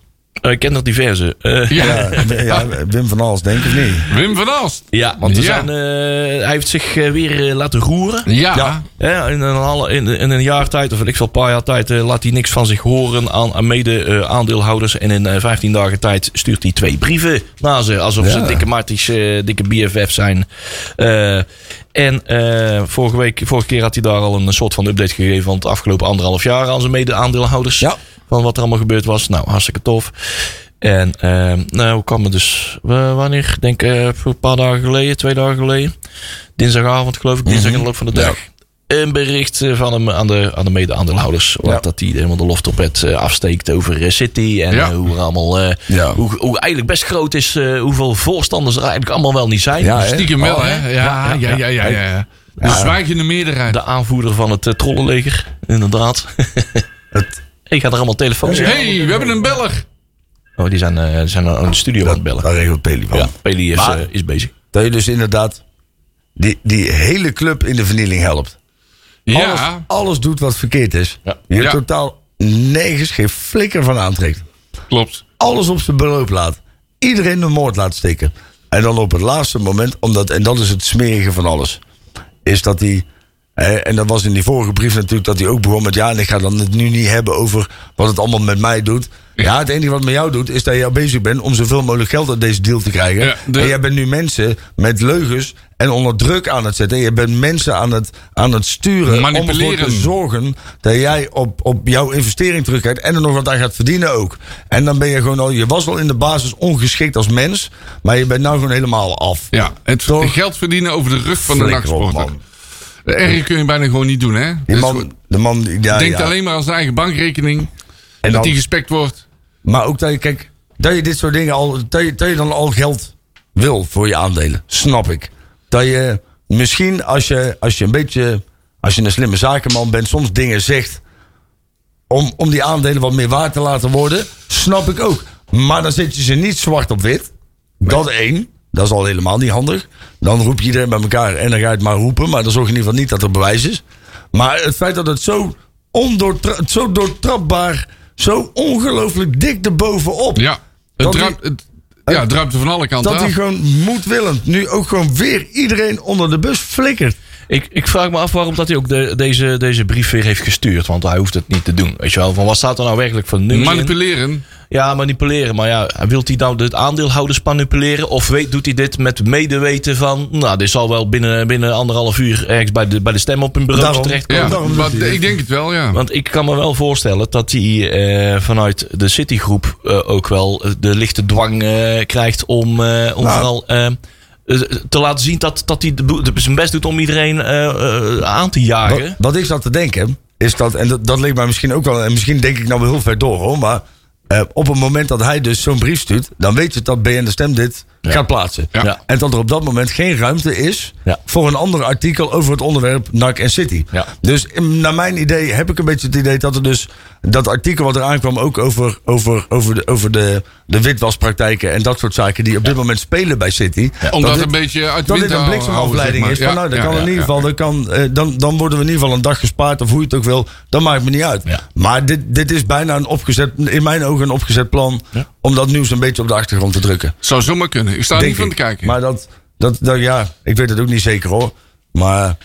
eh, ik ken nog diverse. Eh,
Ja.
Ja, ja, Wim van Aals, denk ik, of niet?
Wim van Aalst.
ja, want er
Ja.
zijn, eh, hij heeft zich eh, weer eh, laten roeren.
Ja.
Ja.
Ja, in, een alle, in, in een jaar tijd, of ik veel, een paar jaar tijd, eh, laat hij niks van zich horen aan, aan mede-aandeelhouders. en in eh, 15 dagen tijd stuurt hij twee brieven naar ze. Alsof ze
Ja.
dikke matties, eh, dikke BFF zijn. Eh, en eh, vorige, week, vorige keer had hij daar al een soort van update gegeven van het afgelopen anderhalf jaar aan zijn mede-aandeelhouders.
Ja.
Van wat er allemaal gebeurd was. Nou, hartstikke tof. En eh, nou kwam het dus, eh, wanneer? Ik denk eh, een paar dagen geleden, twee dagen geleden. Dinsdagavond geloof ik, dinsdag in
Mhm.
de loop van de dag. Een bericht eh, van hem aan de, aan de mede-aandeelhouders. Wat
Ja.
Dat hij helemaal de loft op het eh, afsteekt over eh, City. En
Ja.
eh, hoe, er allemaal, eh,
Ja.
hoe, hoe eigenlijk best groot is eh, hoeveel voorstanders er eigenlijk allemaal wel niet zijn.
Ja, hè?
Stiekem wel,
Oh,
hè? Ja, ja, ja, ja. ja, ja. De zwijgende meerderheid.
De aanvoerder van het eh, trollenleger, inderdaad. [LAUGHS]
Het-
Ik ga er allemaal telefoons in.
hey, we hebben een beller.
Oh, die zijn, eh, zijn aan de studio aan het bellen.
Daar regelt Peli van.
Ja, Peli is,
Maar-
eh, is bezig.
Dat je dus inderdaad die, die hele club in de vernieling helpt. Alles,
Ja,
alles doet wat verkeerd is.
Ja.
Je
Ah. Ja.
totaal nergens geen flikker van aantrekt.
klopt.
Alles op zijn beloop laat. Iedereen de moord laat stikken. En dan op het laatste moment, omdat, en dat is het smerige van alles. Is dat hij. hè, En dat was in die vorige brief natuurlijk dat hij ook begon met. Ja, en ik ga dan het nu niet hebben over wat het allemaal met mij doet. Ja, het enige wat het met jou doet, is dat je bezig bent om zoveel mogelijk geld uit deze deal te krijgen.
Ja, de-
En jij bent nu mensen met leugens en onder druk aan het zetten. En je bent mensen aan het, aan het sturen. Om ervoor
Manipuleren.
te zorgen dat jij op, op jouw investering terugkijkt. En er nog wat aan gaat verdienen ook. En dan ben je gewoon al. Je was al in de basis ongeschikt als mens. Maar je bent nou gewoon helemaal af.
Ja, het
Toch?
geld verdienen over de rug van de
Flikker op,
nachtsporter.
man.
Erger kun je bijna gewoon niet doen, hè?
Die
Dus
man, de man, die- ja,
denkt
ja.
alleen maar aan zijn eigen bankrekening.
En
dat
dan-
die gespekt wordt.
Maar ook dat je, kijk, dat je dit soort dingen al, dat je, dat je dan al geld wil voor je aandelen. Snap ik. Dat je misschien als je, als je een beetje, als je een slimme zakenman bent, soms dingen zegt om, om die aandelen wat meer waard te laten worden. Snap ik ook. Maar dan zet je ze niet zwart op wit. Dat één. Dat is al helemaal niet handig. Dan roep je iedereen bij elkaar en dan ga je het maar roepen. Maar dan zorg je in ieder geval niet dat er bewijs is. Maar het feit dat het zo, ondoortra- zo doortrapbaar, zo ongelooflijk dik erbovenop.
Ja, het
Dat
druipt,
die-
het, ja, het druipt er van alle kanten
Dat hij
af.
gewoon moedwillend nu ook gewoon weer iedereen onder de bus flikkert.
Ik, ik vraag me af waarom dat hij ook de, deze, deze brief weer heeft gestuurd. Want hij hoeft het niet te doen. Weet je wel, van wat staat er nou werkelijk voor nummers in?
Manipuleren.
Ja, manipuleren. Maar ja, wilt hij nou de aandeelhouders manipuleren? Of weet, doet hij dit met medeweten van... Nou, dit zal wel binnen, binnen anderhalf uur ergens bij de, bij de stem op hun bureau
Daarom.
terechtkomen.
Ja,
daarom doet
maar
hij dit.
ik denk het wel, ja.
Want ik kan me wel voorstellen dat hij eh, vanuit de Citigroep eh, ook wel eh, de lichte dwang eh, krijgt om, eh, om
Nou.
vooral eh, eh, te laten zien dat, dat hij de boe- de- zijn best doet om iedereen eh, eh, aan te
Wat,
jagen.
wat ik zat te denken, is dat, en dat, dat leek mij misschien ook wel, en misschien denk ik nou wel heel ver door hoor, maar eh, op het moment dat hij dus zo'n brief stuurt, dan weet je dat BN de Stem dit gaat plaatsen.
Ja.
Ja.
En dat er op dat moment geen ruimte is
Ja.
voor een ander artikel over het onderwerp NAC en City.
Ja.
Dus in- naar mijn idee heb ik een beetje het idee dat er dus dat artikel wat er aankwam ook over, over, over, de, over de, de witwaspraktijken en dat soort zaken die op dit moment spelen bij City.
Om dat
dit-
een beetje uit de
dat
wind
dit
te
een
houden, zeg
bliksemafleiding
maar.
is. Van,
Ja,
nou, dat
ja,
kan
ja,
in ieder
ja.
geval, dat kan, eh, dan, dan worden we in ieder geval een dag gespaard of hoe je het ook wil. Dat maakt me niet uit.
Ja.
Maar dit, dit is bijna een opgezet, in mijn ogen een opgezet plan om dat nieuws een beetje op de achtergrond te drukken.
Zou zomaar kunnen. Ik sta er
Denk
niet van
ik.
te kijken.
Maar dat, dat, dat, ja, ik weet het ook niet zeker hoor. Maar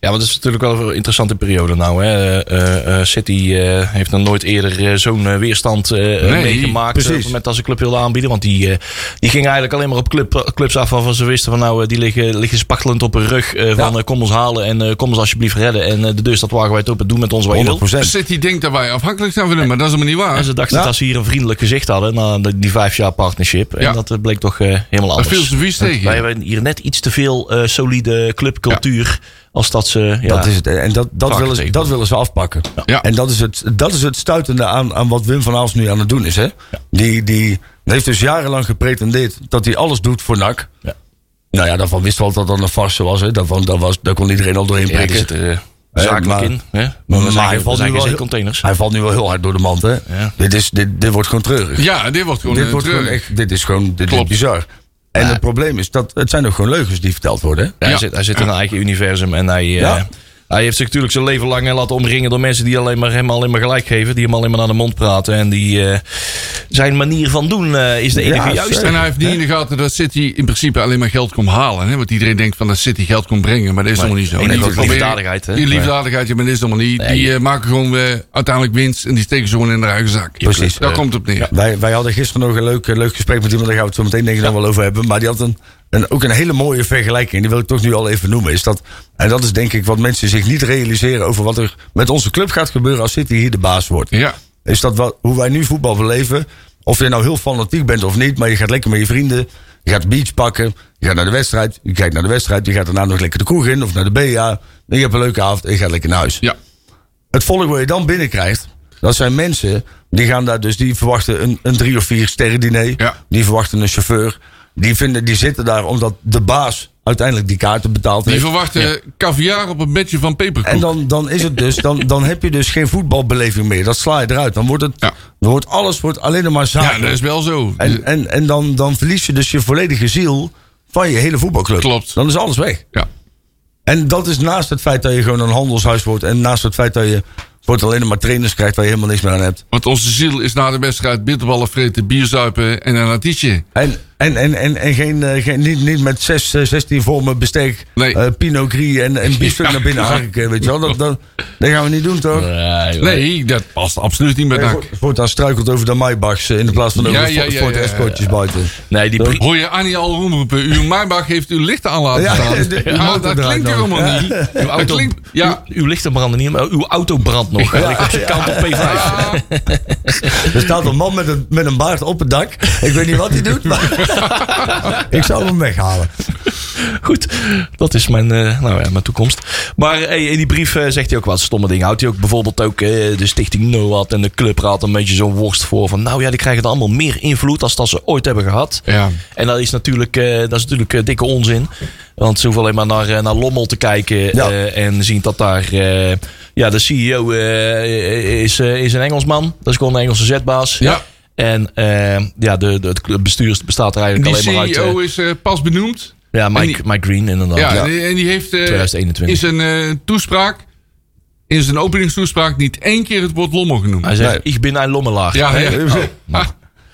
Ja, want het is natuurlijk wel een interessante periode nou. Hè. Eh, eh, eh, City eh, heeft nog nooit eerder eh, zo'n eh, weerstand eh, meegemaakt. eh,
precies.
Op het moment dat ze club wilde aanbieden. Want die, eh, die ging eigenlijk alleen maar op club, clubs af waarvan ze wisten van nou, eh, die liggen, liggen spachtelend op hun rug. eh, van eh, kom ons halen en eh, kom ons alsjeblieft redden. En eh, de deur staat wagenwijd open. Doe met ons wat je wil.
100%.
City denkt dat wij afhankelijk zijn van hem, maar dat is helemaal niet
En
waar.
ze dachten
Ja.
dat ze hier een vriendelijk gezicht hadden na de- die vijf jaar partnership. En
Ja.
dat eh, bleek toch eh, helemaal
Dat
anders.
viel ze vies
Wij
tegen.
hebben hier net iets te veel eh, solide clubcultuur. Als dat ze. Ja,
Dat is het. En dat, dat, willen, ze, dat willen ze afpakken.
Ja.
En dat is het, dat is het stuitende aan, aan wat Wim van Aals nu aan het doen is. Hè? Die, die heeft dus jarenlang gepretendeerd dat hij alles doet voor NAC.
Ja.
Nou ja, daarvan wist wel dat dat een farce was. Hè? Daarvan, dat was. Daar kon iedereen al doorheen
ja, die
prikken.
zit er eh, zakelijk
maar-
in. Hè? Maar we
Maar
zijn,
hij
we
valt
zijn
nu
geen
wel-
containers.
Hij valt nu wel heel hard door de mand. Hè?
Ja.
Dit, is, dit, dit wordt gewoon treurig.
Ja, dit wordt gewoon
dit,
eh,
wordt gewoon
treurig.
echt, dit is gewoon dit is
Klopt.
bizar. En het probleem is dat het zijn ook gewoon leugens die verteld worden. hè?
Ja, Hij,
Ja.
zit, hij zit in een eigen universum en hij, eh,
Ja.
hij heeft zich natuurlijk zijn leven lang eh, laten omringen door mensen die alleen maar hem alleen maar gelijk geven, die hem alleen maar naar de mond praten. En die eh, zijn manier van doen eh, is de enige
Ja,
juiste.
En hij heeft niet in de gaten dat City in principe alleen maar geld komt halen. Hè? Want iedereen denkt van dat City geld komt brengen. Maar dat is
Maar
helemaal niet zo.
ik denk
Die
dat
proberen-
liefdadigheid, hè?
Die liefdadigheid, ja, maar dat is helemaal niet. Die eh, maken gewoon eh, uiteindelijk winst. En die steken ze gewoon in haar eigen zak.
Precies.
Daar
Eh,
komt het op neer.
Wij, wij hadden gisteren nog een leuk, eh, leuk gesprek met iemand, daar gaan we het zo meteen denk ik nog wel over hebben. Maar die had een, een, ook een hele mooie vergelijking, die wil ik toch nu al even noemen. Is dat, en dat is denk ik wat mensen zich niet realiseren over wat er met onze club gaat gebeuren als City hier de baas wordt.
Ja.
Is dat wat, hoe wij nu voetbal beleven, of je nou heel fanatiek bent of niet, maar je gaat lekker met je vrienden, je gaat beach pakken, je gaat naar de wedstrijd, je kijkt naar de wedstrijd, je gaat daarna nog lekker de kroeg in of naar de BA. En je hebt een leuke avond en je gaat lekker naar huis.
ja.
Het volk wat je dan binnenkrijgt, dat zijn mensen die gaan daar dus, die verwachten een, een drie of vier sterren diner.
Ja.
Die verwachten een chauffeur. Die, vinden, die zitten daar omdat de baas uiteindelijk die kaarten betaalt
Die
heeft.
verwachten caviar op een bedje van peperkoek.
En dan, dan is het dus, dan, dan heb je dus geen voetbalbeleving meer. Dat sla je eruit. Dan wordt het,
Ja.
dan wordt alles wordt alleen maar zaak.
ja, dat is wel zo.
En, en, en dan, dan verlies je dus je volledige ziel van je hele voetbalclub.
Klopt.
Dan is alles weg.
ja.
En dat is naast het feit dat je gewoon een handelshuis wordt. En naast het feit dat je wordt alleen maar trainers krijgt waar je helemaal niks meer aan hebt.
Want onze ziel is na de wedstrijd bitterballen vreten, bier zuipen en een artietje.
En, en, en, en, en geen, eh, geen, niet, niet met zes, eh, 16 vormen bestek,
Nee.
eh, Pinot Gris en, en biefstuk
[LAUGHS] Ja.
naar binnen harken. Weet je wel, dat, dat, dat gaan we niet doen toch?
Ja, joh.
Nee, dat past absoluut niet bij
Eh,
NAC.
Vo- Voortaan struikelt over de Maybachs eh, in de plaats van over
Ja,
de
ja,
Fo-
ja,
Ford
ja, ja,
Escortjes buiten.
nee die, pri-
Hoor je Annie al roepen, uw Maybach heeft uw lichten aan laten
Ja,
staan.
[LAUGHS] de- de
Ja,
motor
dat
draait
klinkt er
nog.
helemaal niet.
Uw
Dat
auto,
klinkt, ja.
uw, uw lichten branden niet, maar uw auto brandt nog. Hij ligt op zijn kant op P5.
Ah,
Er staat een man met een, met een baard op het dak. Ik weet niet wat hij doet, maar [LAUGHS] ik zou hem weghalen.
Goed, dat is mijn, eh, nou ja, mijn toekomst. Maar hey, in die brief eh, zegt hij ook wat stomme dingen. Houdt hij ook bijvoorbeeld ook eh, de stichting NOAD en de clubraad een beetje zo'n worst voor. Van nou ja, die krijgen dan allemaal meer invloed als dat ze ooit hebben gehad.
Ja.
En dat is natuurlijk, eh, dat is natuurlijk eh, dikke onzin. Want ze hoeven alleen maar naar, eh, naar Lommel te kijken
Ja.
eh, en zien dat daar... eh, ja, de CEO eh, is, eh, is een Engelsman. Dat is gewoon een Engelse zetbaas.
Ja.
En eh, ja, de, de, het bestuur bestaat er eigenlijk
Die
alleen maar uit... Ah, eh,
CEO is eh, pas benoemd.
ja, Mike,
en die-
Mike Green inderdaad.
Ja, en die heeft eh,
2021.
in zijn eh, toespraak, in zijn openingstoespraak, niet één keer het woord lommel genoemd.
Hij zegt, ik ben een lommelaar.
ja, ja. Ah,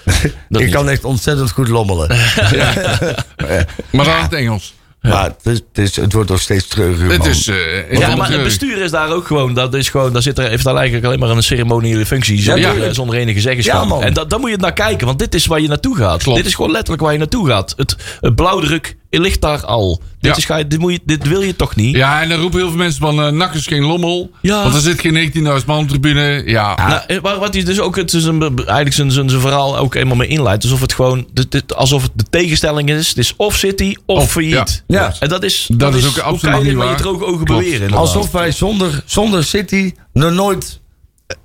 Dat
ik
niet.
kan echt ontzettend goed lommelen.
maar dan in het Engels.
Maar het, is, het, is- het wordt nog steeds treuriger.
Het
man.
is, eh,
Ja,
heel
maar het
treurig.
bestuur is daar ook gewoon. Dat is gewoon daar zit er, heeft daar eigenlijk alleen maar een ceremoniële functie. Zonder,
tuurlijk.
eh, zonder enige
Ja,
zeggenschap.
man.
en da, daar moet je naar kijken, want dit is waar je naartoe gaat.
Klopt.
Dit is gewoon letterlijk waar je naartoe gaat. Het, het blauwdruk ligt daar al.
Ja.
Dit, is, ga je- dit, moet je, dit wil je toch niet?
Ja, en dan roepen heel veel mensen van eh NAC is geen lommel.
Ja.
Want er zit geen 19.000 man op de tribune. Ja.
Nou, eh, maar wat hij dus ook het is een, eigenlijk zijn, zijn, zijn verhaal ook eenmaal mee inleidt. Alsof het gewoon dit, dit- alsof het de tegenstelling is. Het is of City of,
Of,
failliet.
ja. Ja.
En dat is,
Dat is ook
hoe
absoluut
kan je dit
niet
met je
waar.
droge ogen
Klopt.
beweren. inderdaad?
Alsof wij zonder, zonder City nog nooit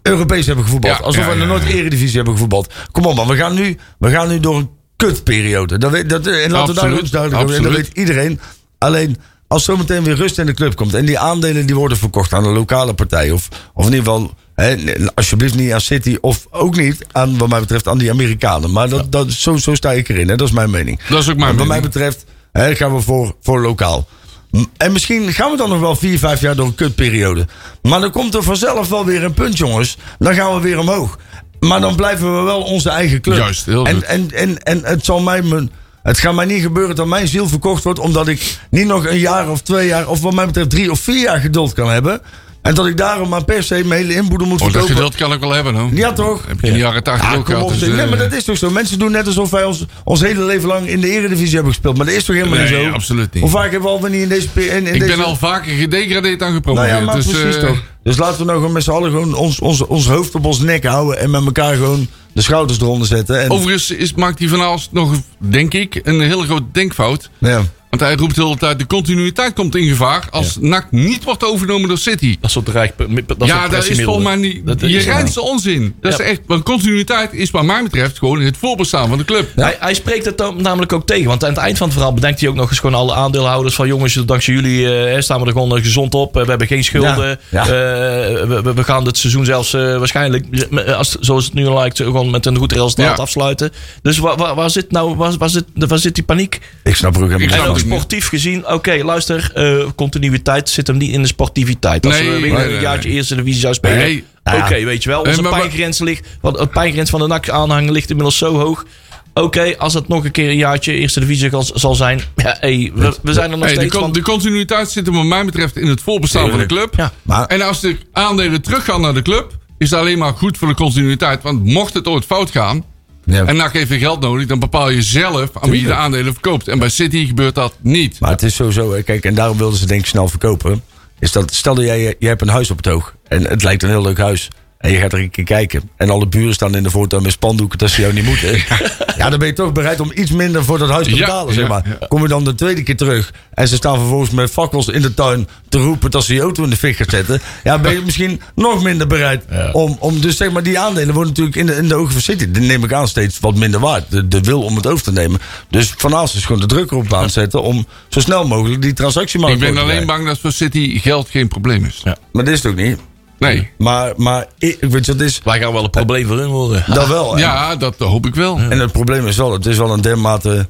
Europees hebben gevoetbald.
Ja,
Alsof
ja,
wij
ja,
nog nooit
ja.
Eredivisie hebben gevoetbald. Kom op man, we gaan nu, we gaan nu door een kutperiode. Dat weet, dat, en laten we daar
Absoluut,
eens duidelijk over zijn. Dat weet
absoluut.
iedereen. Alleen, als zometeen weer rust in de club komt... en die aandelen die worden verkocht aan een lokale partij... of, of in ieder geval, hè, alsjeblieft niet aan City... of ook niet, aan, wat mij betreft, aan die Amerikanen. Maar dat, dat, zo, zo sta ik erin, hè. dat is mijn mening.
Dat is ook mijn
Wat mij
mening.
betreft hè, gaan we voor, voor lokaal. M- En misschien gaan we dan nog wel vier, vijf jaar door een kutperiode. Maar dan komt er vanzelf wel weer een punt, jongens. Dan gaan we weer omhoog. Maar dan blijven we wel onze eigen club.
Juist, heel
en,
goed.
en, en, en het zal mij... Mijn, het gaat mij niet gebeuren dat mijn ziel verkocht wordt... omdat ik niet nog een jaar of twee jaar... of wat mij betreft drie of vier jaar geduld kan hebben. En dat ik daarom maar per se mijn hele inboedel moet
Oh, dat
verkopen.
geduld kan ik wel hebben, hoor.
Ja, toch?
Heb ik in de jaren 80
Ja,
ook
kom
gehad.
op,
dus,
zeg. nee,
eh,
maar dat is toch zo. Mensen doen net alsof wij ons, ons hele leven lang in de eredivisie hebben gespeeld. Maar dat is toch helemaal
Nee,
niet zo?
absoluut niet.
Hoe vaak hebben we al niet in deze... pe- In, in
ik
deze...
ben al vaker gedegradeerd dan
Nou
gepromoveerd.
ja, maar
dus,
precies
eh,
toch. Dus laten we nou gewoon met z'n allen gewoon ons, ons, ons hoofd op ons nek houden... en met elkaar gewoon de schouders eronder zetten. En,
Overigens is, maakt hij van alles nog, denk ik, een hele groot denkfout.
ja.
Want hij roept de hele tijd, de continuïteit komt in gevaar als NAC niet wordt overgenomen door City.
Dat soort rijk. Dat
ja, dat is volgens mij niet.
Dat
je
is het
reinste onzin. Dat
Ja.
is echt, want continuïteit is, wat mij betreft, gewoon in het voorbestaan van de club.
Hij, hij spreekt het dan namelijk ook tegen. Want aan het eind van het verhaal bedenkt hij ook nog eens gewoon alle aandeelhouders van jongens, dankzij jullie eh, staan we er gewoon eh, gezond op. Eh, we hebben geen schulden.
Ja.
Eh, we, we- we gaan dit seizoen zelfs eh, waarschijnlijk, eh, als, zoals het nu lijkt, eh, gewoon met een goed resultaat
Ja.
afsluiten. Dus waar, waar, waar zit nou, waar, waar, zit, waar zit die paniek?
Ik snap er ook helemaal
Ik
niks
En
snap
ook
het
van.
niet.
sportief gezien, oké, luister, eh, continuïteit zit hem niet in de sportiviteit. Als
Nee,
we
nee,
weer
nee,
een jaartje
nee.
eerste divisie zou spelen,
Nee.
oké, weet je wel.
Eh,
Onze
maar- maar-
pijngrens ligt, want de pijngrens van de NAC aanhanger ligt inmiddels zo hoog. Oké, als het nog een keer een jaartje eerste divisie zal- zal zijn, ja, hey, we, we zijn er nog
Hey, de,
steeds
con-
van.
de continuïteit zit hem wat mij betreft in het voorbestaan van de club.
Ja.
Maar-
En als de aandelen teruggaan naar de club, is dat alleen maar goed voor de continuïteit. Want mocht het ooit fout gaan,
Ja.
en NAC heeft weer geld nodig, dan bepaal je zelf aan wie je de aandelen verkoopt. En bij City gebeurt dat niet.
Maar het is sowieso, hè, kijk, en daarom wilden ze denk ik snel verkopen. Is dat, stel dat jij, jij hebt een huis op het oog. En het lijkt een heel leuk huis. En je gaat er een keer kijken. En alle buren staan in de voortuin met spandoeken dat ze jou niet moeten. [LAUGHS] Ja, dan ben je toch bereid om iets minder voor dat huis te
Ja,
betalen,
ja,
zeg maar.
ja.
Kom je dan de tweede keer terug. En ze staan vervolgens met fakkels in de tuin te roepen dat ze je auto in de fik gaan zetten. Ja, ben je misschien nog minder bereid om, om... Dus zeg maar, die aandelen worden natuurlijk in de, in de ogen van City. Die neem ik aan steeds wat minder waard. De, de wil om het over te nemen. Dus Van Aals is gewoon de druk erop aan het zetten... om zo snel mogelijk die transactiemarkt
Ik ben
door te
alleen
krijgen.
bang dat voor City geld geen probleem is.
Maar dit is het ook niet.
Nee.
Maar, maar ik, weet je wat het is?
Wij gaan wel een probleem voor hun worden.
Dat wel. En-
Ja, dat hoop ik wel.
En het probleem is wel, het is wel een dermate.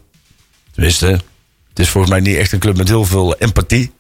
Tenminste, het is volgens mij niet echt een club met heel veel empathie.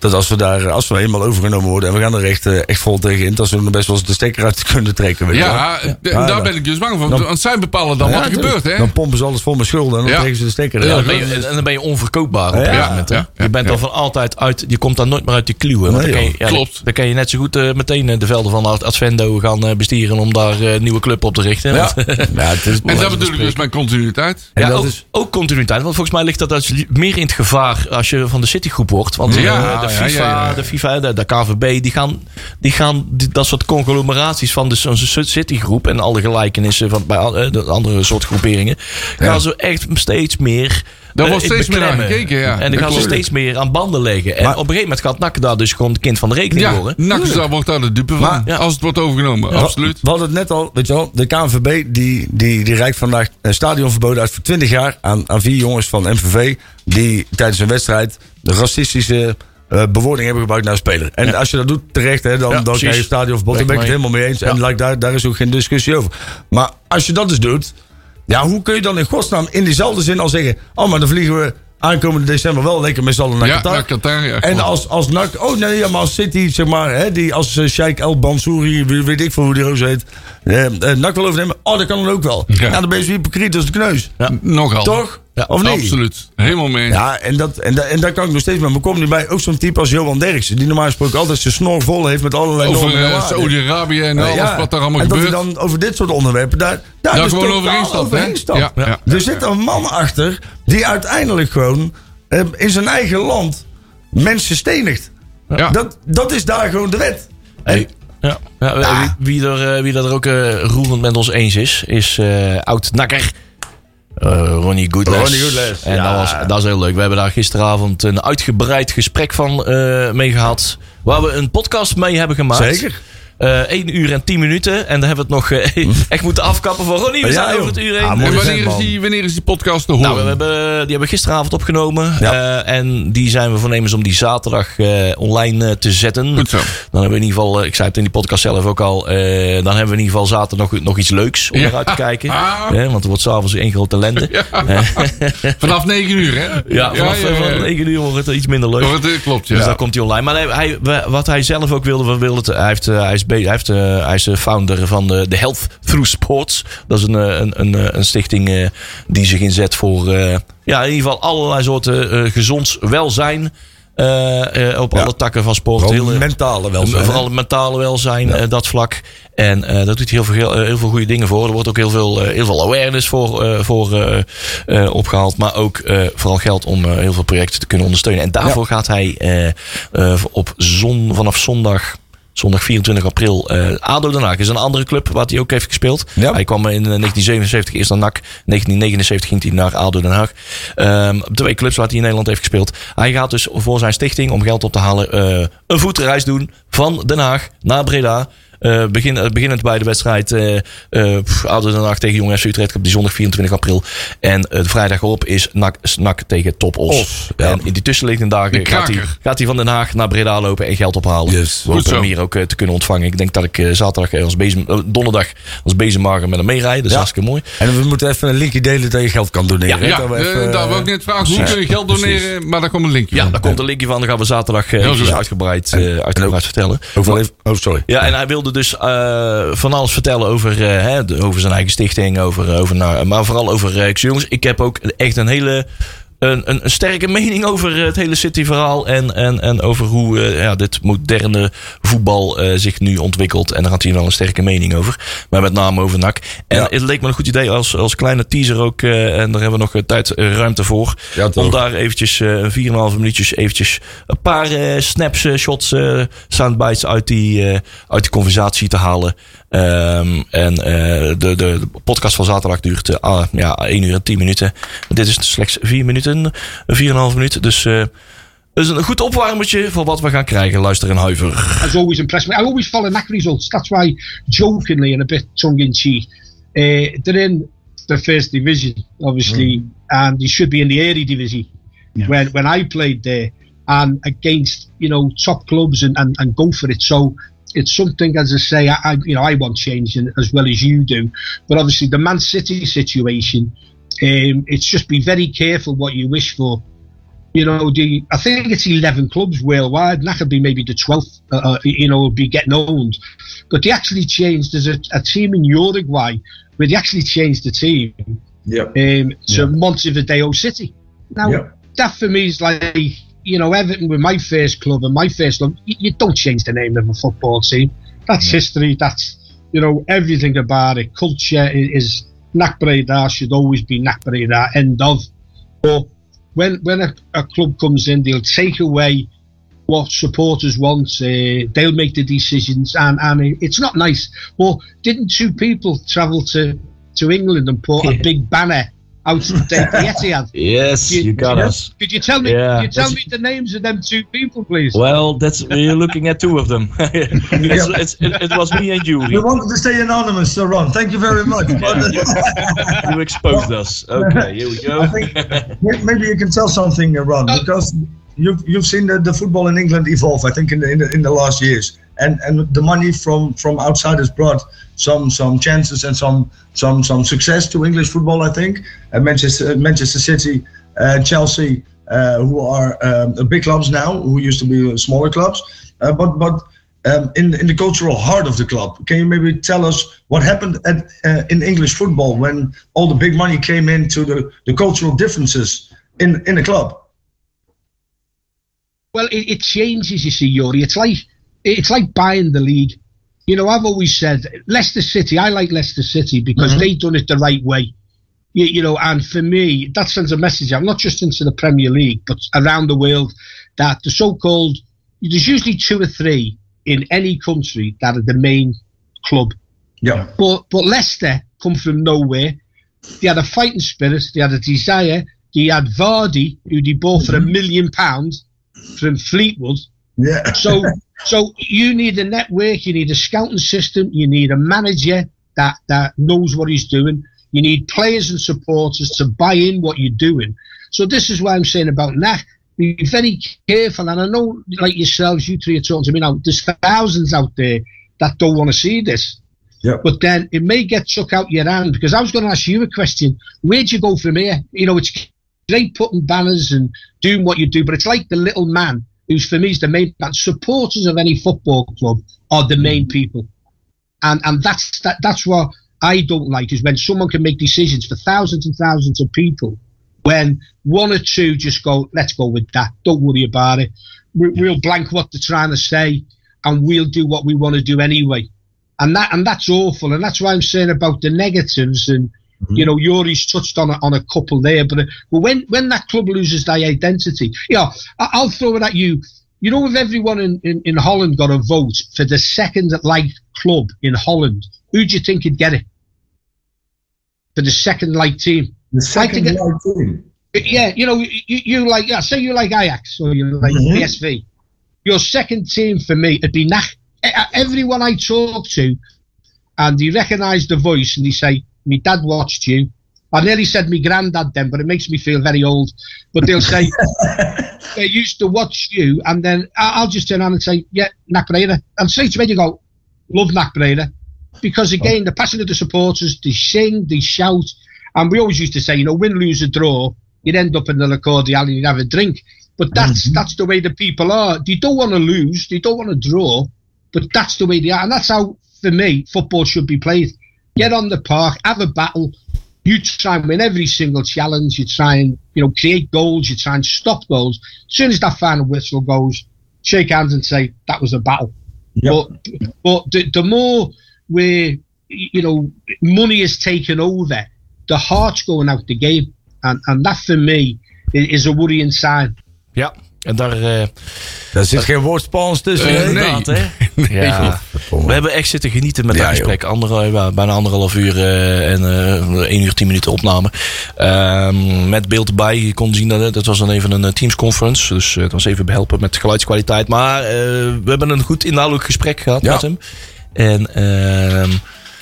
Dat als we daar, als we eenmaal overgenomen worden en we gaan er echt, eh, echt vol tegen in, dat ze er best wel eens de stekker uit [LAUGHS] kunnen trekken. Weet je wel.
Ja, d-
Ja,
daar
ja.
ben ik dus bang voor.
Dan-
Want zij bepalen dan wat er
Ja,
gebeurt, hè?
Dan pompen ze alles vol met schulden en dan
Ja.
trekken ze de stekker
Ja,
eruit.
dan ben je, en dan ben je onverkoopbaar op een
Ja.
gegeven moment. hè.
Ja, ja,
je bent
ja.
dan van altijd uit, je komt daar nooit meer uit die kluwen. Want
Nee,
dan kan je,
joh.
dan-
Klopt.
Dan kan je net zo goed eh, meteen eh, de velden van Ad- Advendo gaan eh, bestieren om daar eh, een nieuwe club op te richten.
Ja.
Want-
Ja, het is,
En dat bedoel ik dus mijn continuïteit.
En
Ja,
dat
ook,
is-
ook continuïteit. Want volgens mij ligt dat dus meer in het gevaar als je van de Citygroep wordt. Want eh,
Ja,
de,
ja, ja,
FIFA,
ja.
de FIFA, de, de KVB, die gaan, die gaan die- dat soort conglomeraties van de zo'n soort Citygroep en alle gelijkenissen van bij al- eh, de andere soort groeperingen, gaan ze echt steeds meer.
Daar
eh,
wordt
in
steeds meer
beklemmen.
naar gekeken, ja.
En
Dat
dan gaan ze
klopt.
steeds meer aan banden leggen. En
Maar-
op een gegeven moment gaat NAC daar dus gewoon het kind van de rekening
Ja,
worden.
NAC daar wordt daar de dupe van.
ja.
Als het wordt overgenomen,
Wa-
absoluut.
We hadden het net al, weet je wel, de KNVB die, die, die reikt vandaag een stadionverbod uit voor 20 jaar aan, aan vier jongens van MVV die tijdens een wedstrijd de racistische eh, bewoording hebben gebruikt naar een speler. En als je dat doet terecht, hè, dan,
Ja,
dan krijg je
precies.
een stadionverbod. Daar ben ik het helemaal mee eens. En like, daar, daar is ook geen discussie over. Maar als je dat dus doet, ja, hoe kun je dan in godsnaam in diezelfde zin al zeggen, oh, maar dan vliegen we aankomende december wel lekker met z'n allen naar
Ja,
Qatar.
naar Qatar, ja,
en
klopt.
als, als NAC, oh nee, ja, maar als City, zeg maar, hè, die, als eh, Sheikh El Bansouri, wie- weet ik veel hoe die roos heet, eh, eh, NAC wil overnemen, oh, dat kan dan ook wel.
Ja.
Ja, dan ben je zo hypocriet als de kneus.
Nogal.
Toch? of niet?
Absoluut. Helemaal mee. eens.
Ja, en, dat, en, dat, en daar kan ik nog steeds mee. Maar kom nu bij ook zo'n type als Johan Derksen, die normaal gesproken altijd zijn snor vol heeft met allerlei
Over
normen en
eh,
waarden.
Saudi-Arabië en alles
Ja,
wat daar allemaal
en dat
gebeurt.
hij dan over dit soort onderwerpen daar, daar
Daar
dus
gewoon
totaal
overheen stapt, hè?
overheen stapt.
Ja, ja, ja,
Er zit een man achter die uiteindelijk gewoon eh, in zijn eigen land mensen stenigt.
Ja.
Dat, dat is daar gewoon de wet.
Ah. Hey. Ja. Ja,
Ah.
Wie, wie er, eh, wie dat er ook eh, roerend met ons eens is, is eh, oud-nakker. eh, Ronnie Goodles.
Ronnie Goodles,
En
ja.
dat, was, dat is heel leuk. We hebben daar gisteravond een uitgebreid gesprek van eh mee gehad. Waar we een podcast mee hebben gemaakt.
Zeker.
1 uur en 10 minuten. En dan hebben we het nog eh, [LAUGHS] echt moeten afkappen van Ronnie. We
Ja,
zijn
joh.
over het uur heen.
Ah,
En
mooi.
wanneer is,
man.
die, wanneer is die podcast te
Nou, we
horen?
hebben, die hebben we gisteravond opgenomen.
Ja.
Eh, en die zijn we voornemens om die zaterdag eh, online eh, te zetten.
Goed zo.
Dan hebben we in ieder geval, eh, ik zei het in die podcast zelf ook al, eh, dan hebben we in ieder geval zaterdag nog, nog iets leuks om
Ja.
naar uit te kijken.
[LAUGHS] Ah.
Eh, want er wordt s'avonds één grote ellende. Ja,
Vanaf 9 uur, hè?
vanaf eh, vanaf 9 uur wordt het iets minder leuk.
Toch, het, eh, klopt, ja.
Dus dan komt hij online. Maar hij, hij- we- wat hij zelf ook wilde, we wilden het- hij, heeft, eh, hij, is, be- hij, heeft, eh, hij is de founder van de, de Health Through Sports. Dat is een, eh, een, een, eh, een stichting eh, die zich inzet voor eh, ja, in ieder geval allerlei soorten eh, gezonds welzijn. eh, eh, op alle takken van sport.
Vooral
Heel, eh,
mentale welzijn.
Vooral het mentale welzijn, eh, dat vlak. En eh daar doet hij heel veel, heel, heel veel goede dingen voor. Er wordt ook heel veel, eh, heel veel awareness voor, eh, voor eh, eh, opgehaald. Maar ook eh, vooral geld om eh, heel veel projecten te kunnen ondersteunen. En daarvoor gaat hij eh, eh, op zon, vanaf zondag Zondag 24 april. eh, ADO Den Haag is een andere club waar hij ook heeft gespeeld.
Ja.
Hij kwam in eh, 1977 eerst naar NAC. 1979 ging hij naar ADO Den Haag. Ehm, twee clubs waar hij in Nederland heeft gespeeld. Hij gaat dus voor zijn stichting om geld op te halen eh, een voetreis doen van Den Haag naar Breda. Eh, begin, eh, beginnend bij de wedstrijd eh eh, pff, ADO Den Haag tegen Jong FC Utrecht op die zondag 24 april. En eh, de vrijdag erop is NAC, NAC tegen Top Os.
Os, ja.
En in die tussenliggende dagen
De
gaat hij,
kraker.
gaat hij van Den Haag naar Breda lopen en geld ophalen.
Yes.
We
Goed
hopen
zo.
hem hier ook eh, te kunnen ontvangen. Ik denk dat ik eh, zaterdag eh, als bezem, eh, donderdag als bezemmager met hem meerijden. Dat is
Ja.
hartstikke mooi.
En we moeten even een linkje delen dat je geld kan doneren.
Ja,
hè?
Ja,
Dat we
eh,
even,
daar
eh,
wou ik net vragen. Hoe
precies,
kun je geld
precies.
doneren? eh, Maar daar komt een linkje
Ja,
van.
daar komt een linkje van. Dan gaan we zaterdag eh,
Heel
eventjes
goed.
uitgebreid, eh, uitgebreid vertellen.
Ook wel even- Oh, sorry.
Ja, en hij wilde dus eh, van alles vertellen over, eh, hè, de- over zijn eigen stichting, over, over, nou, maar vooral over eh, jongens. Ik heb ook echt een hele een, een, een sterke mening over eh, het hele City-verhaal en, en, en over hoe eh, ja, dit moderne voetbal eh, zich nu ontwikkelt. En daar had hij wel een sterke mening over, maar met name over NAC. En
Ja.
het leek me een goed idee als, als kleine teaser ook, eh, en daar hebben we nog eh, tijd, eh, ruimte voor,
Ja, toch.
om daar eventjes eh 4,5 minuutjes eventjes een paar eh, snaps, eh, shots, eh, soundbites uit die, eh, uit die conversatie te halen. Ehm, en eh, de, de, de podcast van zaterdag duurt eh, ah, ja, 1 uur en 10 minuten. Dit is slechts 4 minuten, 4,5 minuten. Dus eh dat is een goed opwarmertje voor wat we gaan krijgen. Luister en huiver.
has always impressed me. I always follow NAC results. That's why, jokingly and a bit tongue in cheek, uh, they're in the first division, obviously, and they should be in the early division. When when I played there, and against you know top clubs and, and, and go for it. So it's something, as I say, I, I you know I want changing as well as you do. But obviously, the Man City situation, um, it's just be very careful what you wish for you know, the I think it's eleven clubs worldwide. and that could be maybe the twelfth. Uh, uh, you know, would be getting old. But they actually changed. There's a, a team in Uruguay where they actually changed the team
Yep.
um, to Montevideo City. Now,
Yep.
that for me is like you know Everton with my first club and my first club. You, you don't change the name of a football team. That's history. That's you know everything about it. Culture i- is, Nac Breda should always be Nac Breda. End of. But when when a, a club comes in, they'll take away what supporters want. Uh, they'll make the decisions, and and it's not nice. Well, didn't two people travel to to England and put a big banner out at the Etihad?
Yes,
You-
you got
yeah.
us.
Could you tell me?
Yeah,
could you tell
that's-
me the names of them two people, please?
Well, that's, you're looking at two of them. [LAUGHS] it was me and you.
You wanted to stay anonymous, so Ron, thank you very much.
[LAUGHS]
But
You exposed us. Okay, here we go.
I think may- maybe you can tell something, uh, Ron, because you've you've seen the, the football in England evolve. I think in the in the, in the last years, and and the money from from outside has brought some some chances and some some some success to English football. I think and Manchester Manchester City, uh, Chelsea, uh, who are um, big clubs now, who used to be smaller clubs, uh, but but. Um, in, in the cultural heart of the club, can you maybe tell us what happened at, uh, in English football when all the big money came into the, the cultural differences in, in the club?
Well, it, it changes, you see, Yuri. It's like it's like buying the league. You know, I've always said Leicester City. I like Leicester City
Mm-hmm.
because they done it the right way. You, you know, and for me, that sends a message out, not just into the Premier League, but around the world, that the so-called there's usually two or three in any country that are the main club
Yeah.
But but Leicester come from nowhere. They had a fighting spirit. They had a desire. They had Vardy, who they bought for a million pounds from Fleetwood.
Yeah.
So so you need a network. You need a scouting system. You need a manager that that knows what he's doing. You need players and supporters to buy in what you're doing. So this is why I'm saying about Nach. Be very careful, and I know, like yourselves, you three are talking to me now. There's thousands out there that don't want to see this
yeah.
but then it may get took out your hand because I was going to ask you a question. Where do you go from here? You know, it's great putting banners and doing what you do, but it's like the little man who's for me is the main man. Supporters of any football club are the main people, and and that's that, that's what I don't like is when someone can make decisions for thousands and thousands of people, when one or two just go, let's go with that. Don't worry about it. We, We'll blank what they're trying to say, and we'll do what we want to do anyway and that and that's awful and that's why i'm saying about the negatives and you know yuri's touched on a, on a couple there but, but when when that club loses their identity you know I, i'll throw it at you you know, if everyone in, in, in Holland got a vote for the second light club in Holland, who do you think would get it? For the second light team.
The
I
second
think it-
light team.
yeah, you know, you, you like, yeah, say you like Ajax or you like
Mhm.
PSV. Your second team for me would be Nach. e- e- Everyone I talk to, and they recognise the voice and they say, "My dad watched you." I nearly said my granddad then, but it makes me feel very old. But they'll say they used to watch you, and then I- I'll just turn around and say, "Yeah, Nak Breda," and straight away you go, "Love Nak Breda," because again, the passion of the supporters, they sing, they shout, and we always used to say, you know, win, lose, or draw, you'd end up in the Lacordial and you'd have a drink. But that's that's the way the people are. They don't want to lose, they don't want to draw, but that's the way they are, and that's how for me football should be played. Get on the park, have a battle. You try and win every single challenge. You try and you know create goals. You try and stop goals. As soon as that final whistle goes, shake hands and say that was a battle. But but the, the more where you know money is taken over, the heart's going out the game, and and that for me i- is a worrying sign.
Ja, en daar... eh,
Daar zit geen woord Spaans tussen.
Eh, [LAUGHS]
hè?
nee.
inderdaad, hè? Ja. We hebben echt zitten genieten met
Ja,
dat gesprek. Ander, bijna anderhalf uur eh, en eh 1 uur 10 minuten opname. Ehm, met beeld erbij. Je kon zien dat het- het was dan even een eh, Teams conference. Dus eh, het was even behelpen met geluidskwaliteit. Maar eh, we hebben een goed inhoudelijk gesprek gehad
Ja.
met hem. En ehm,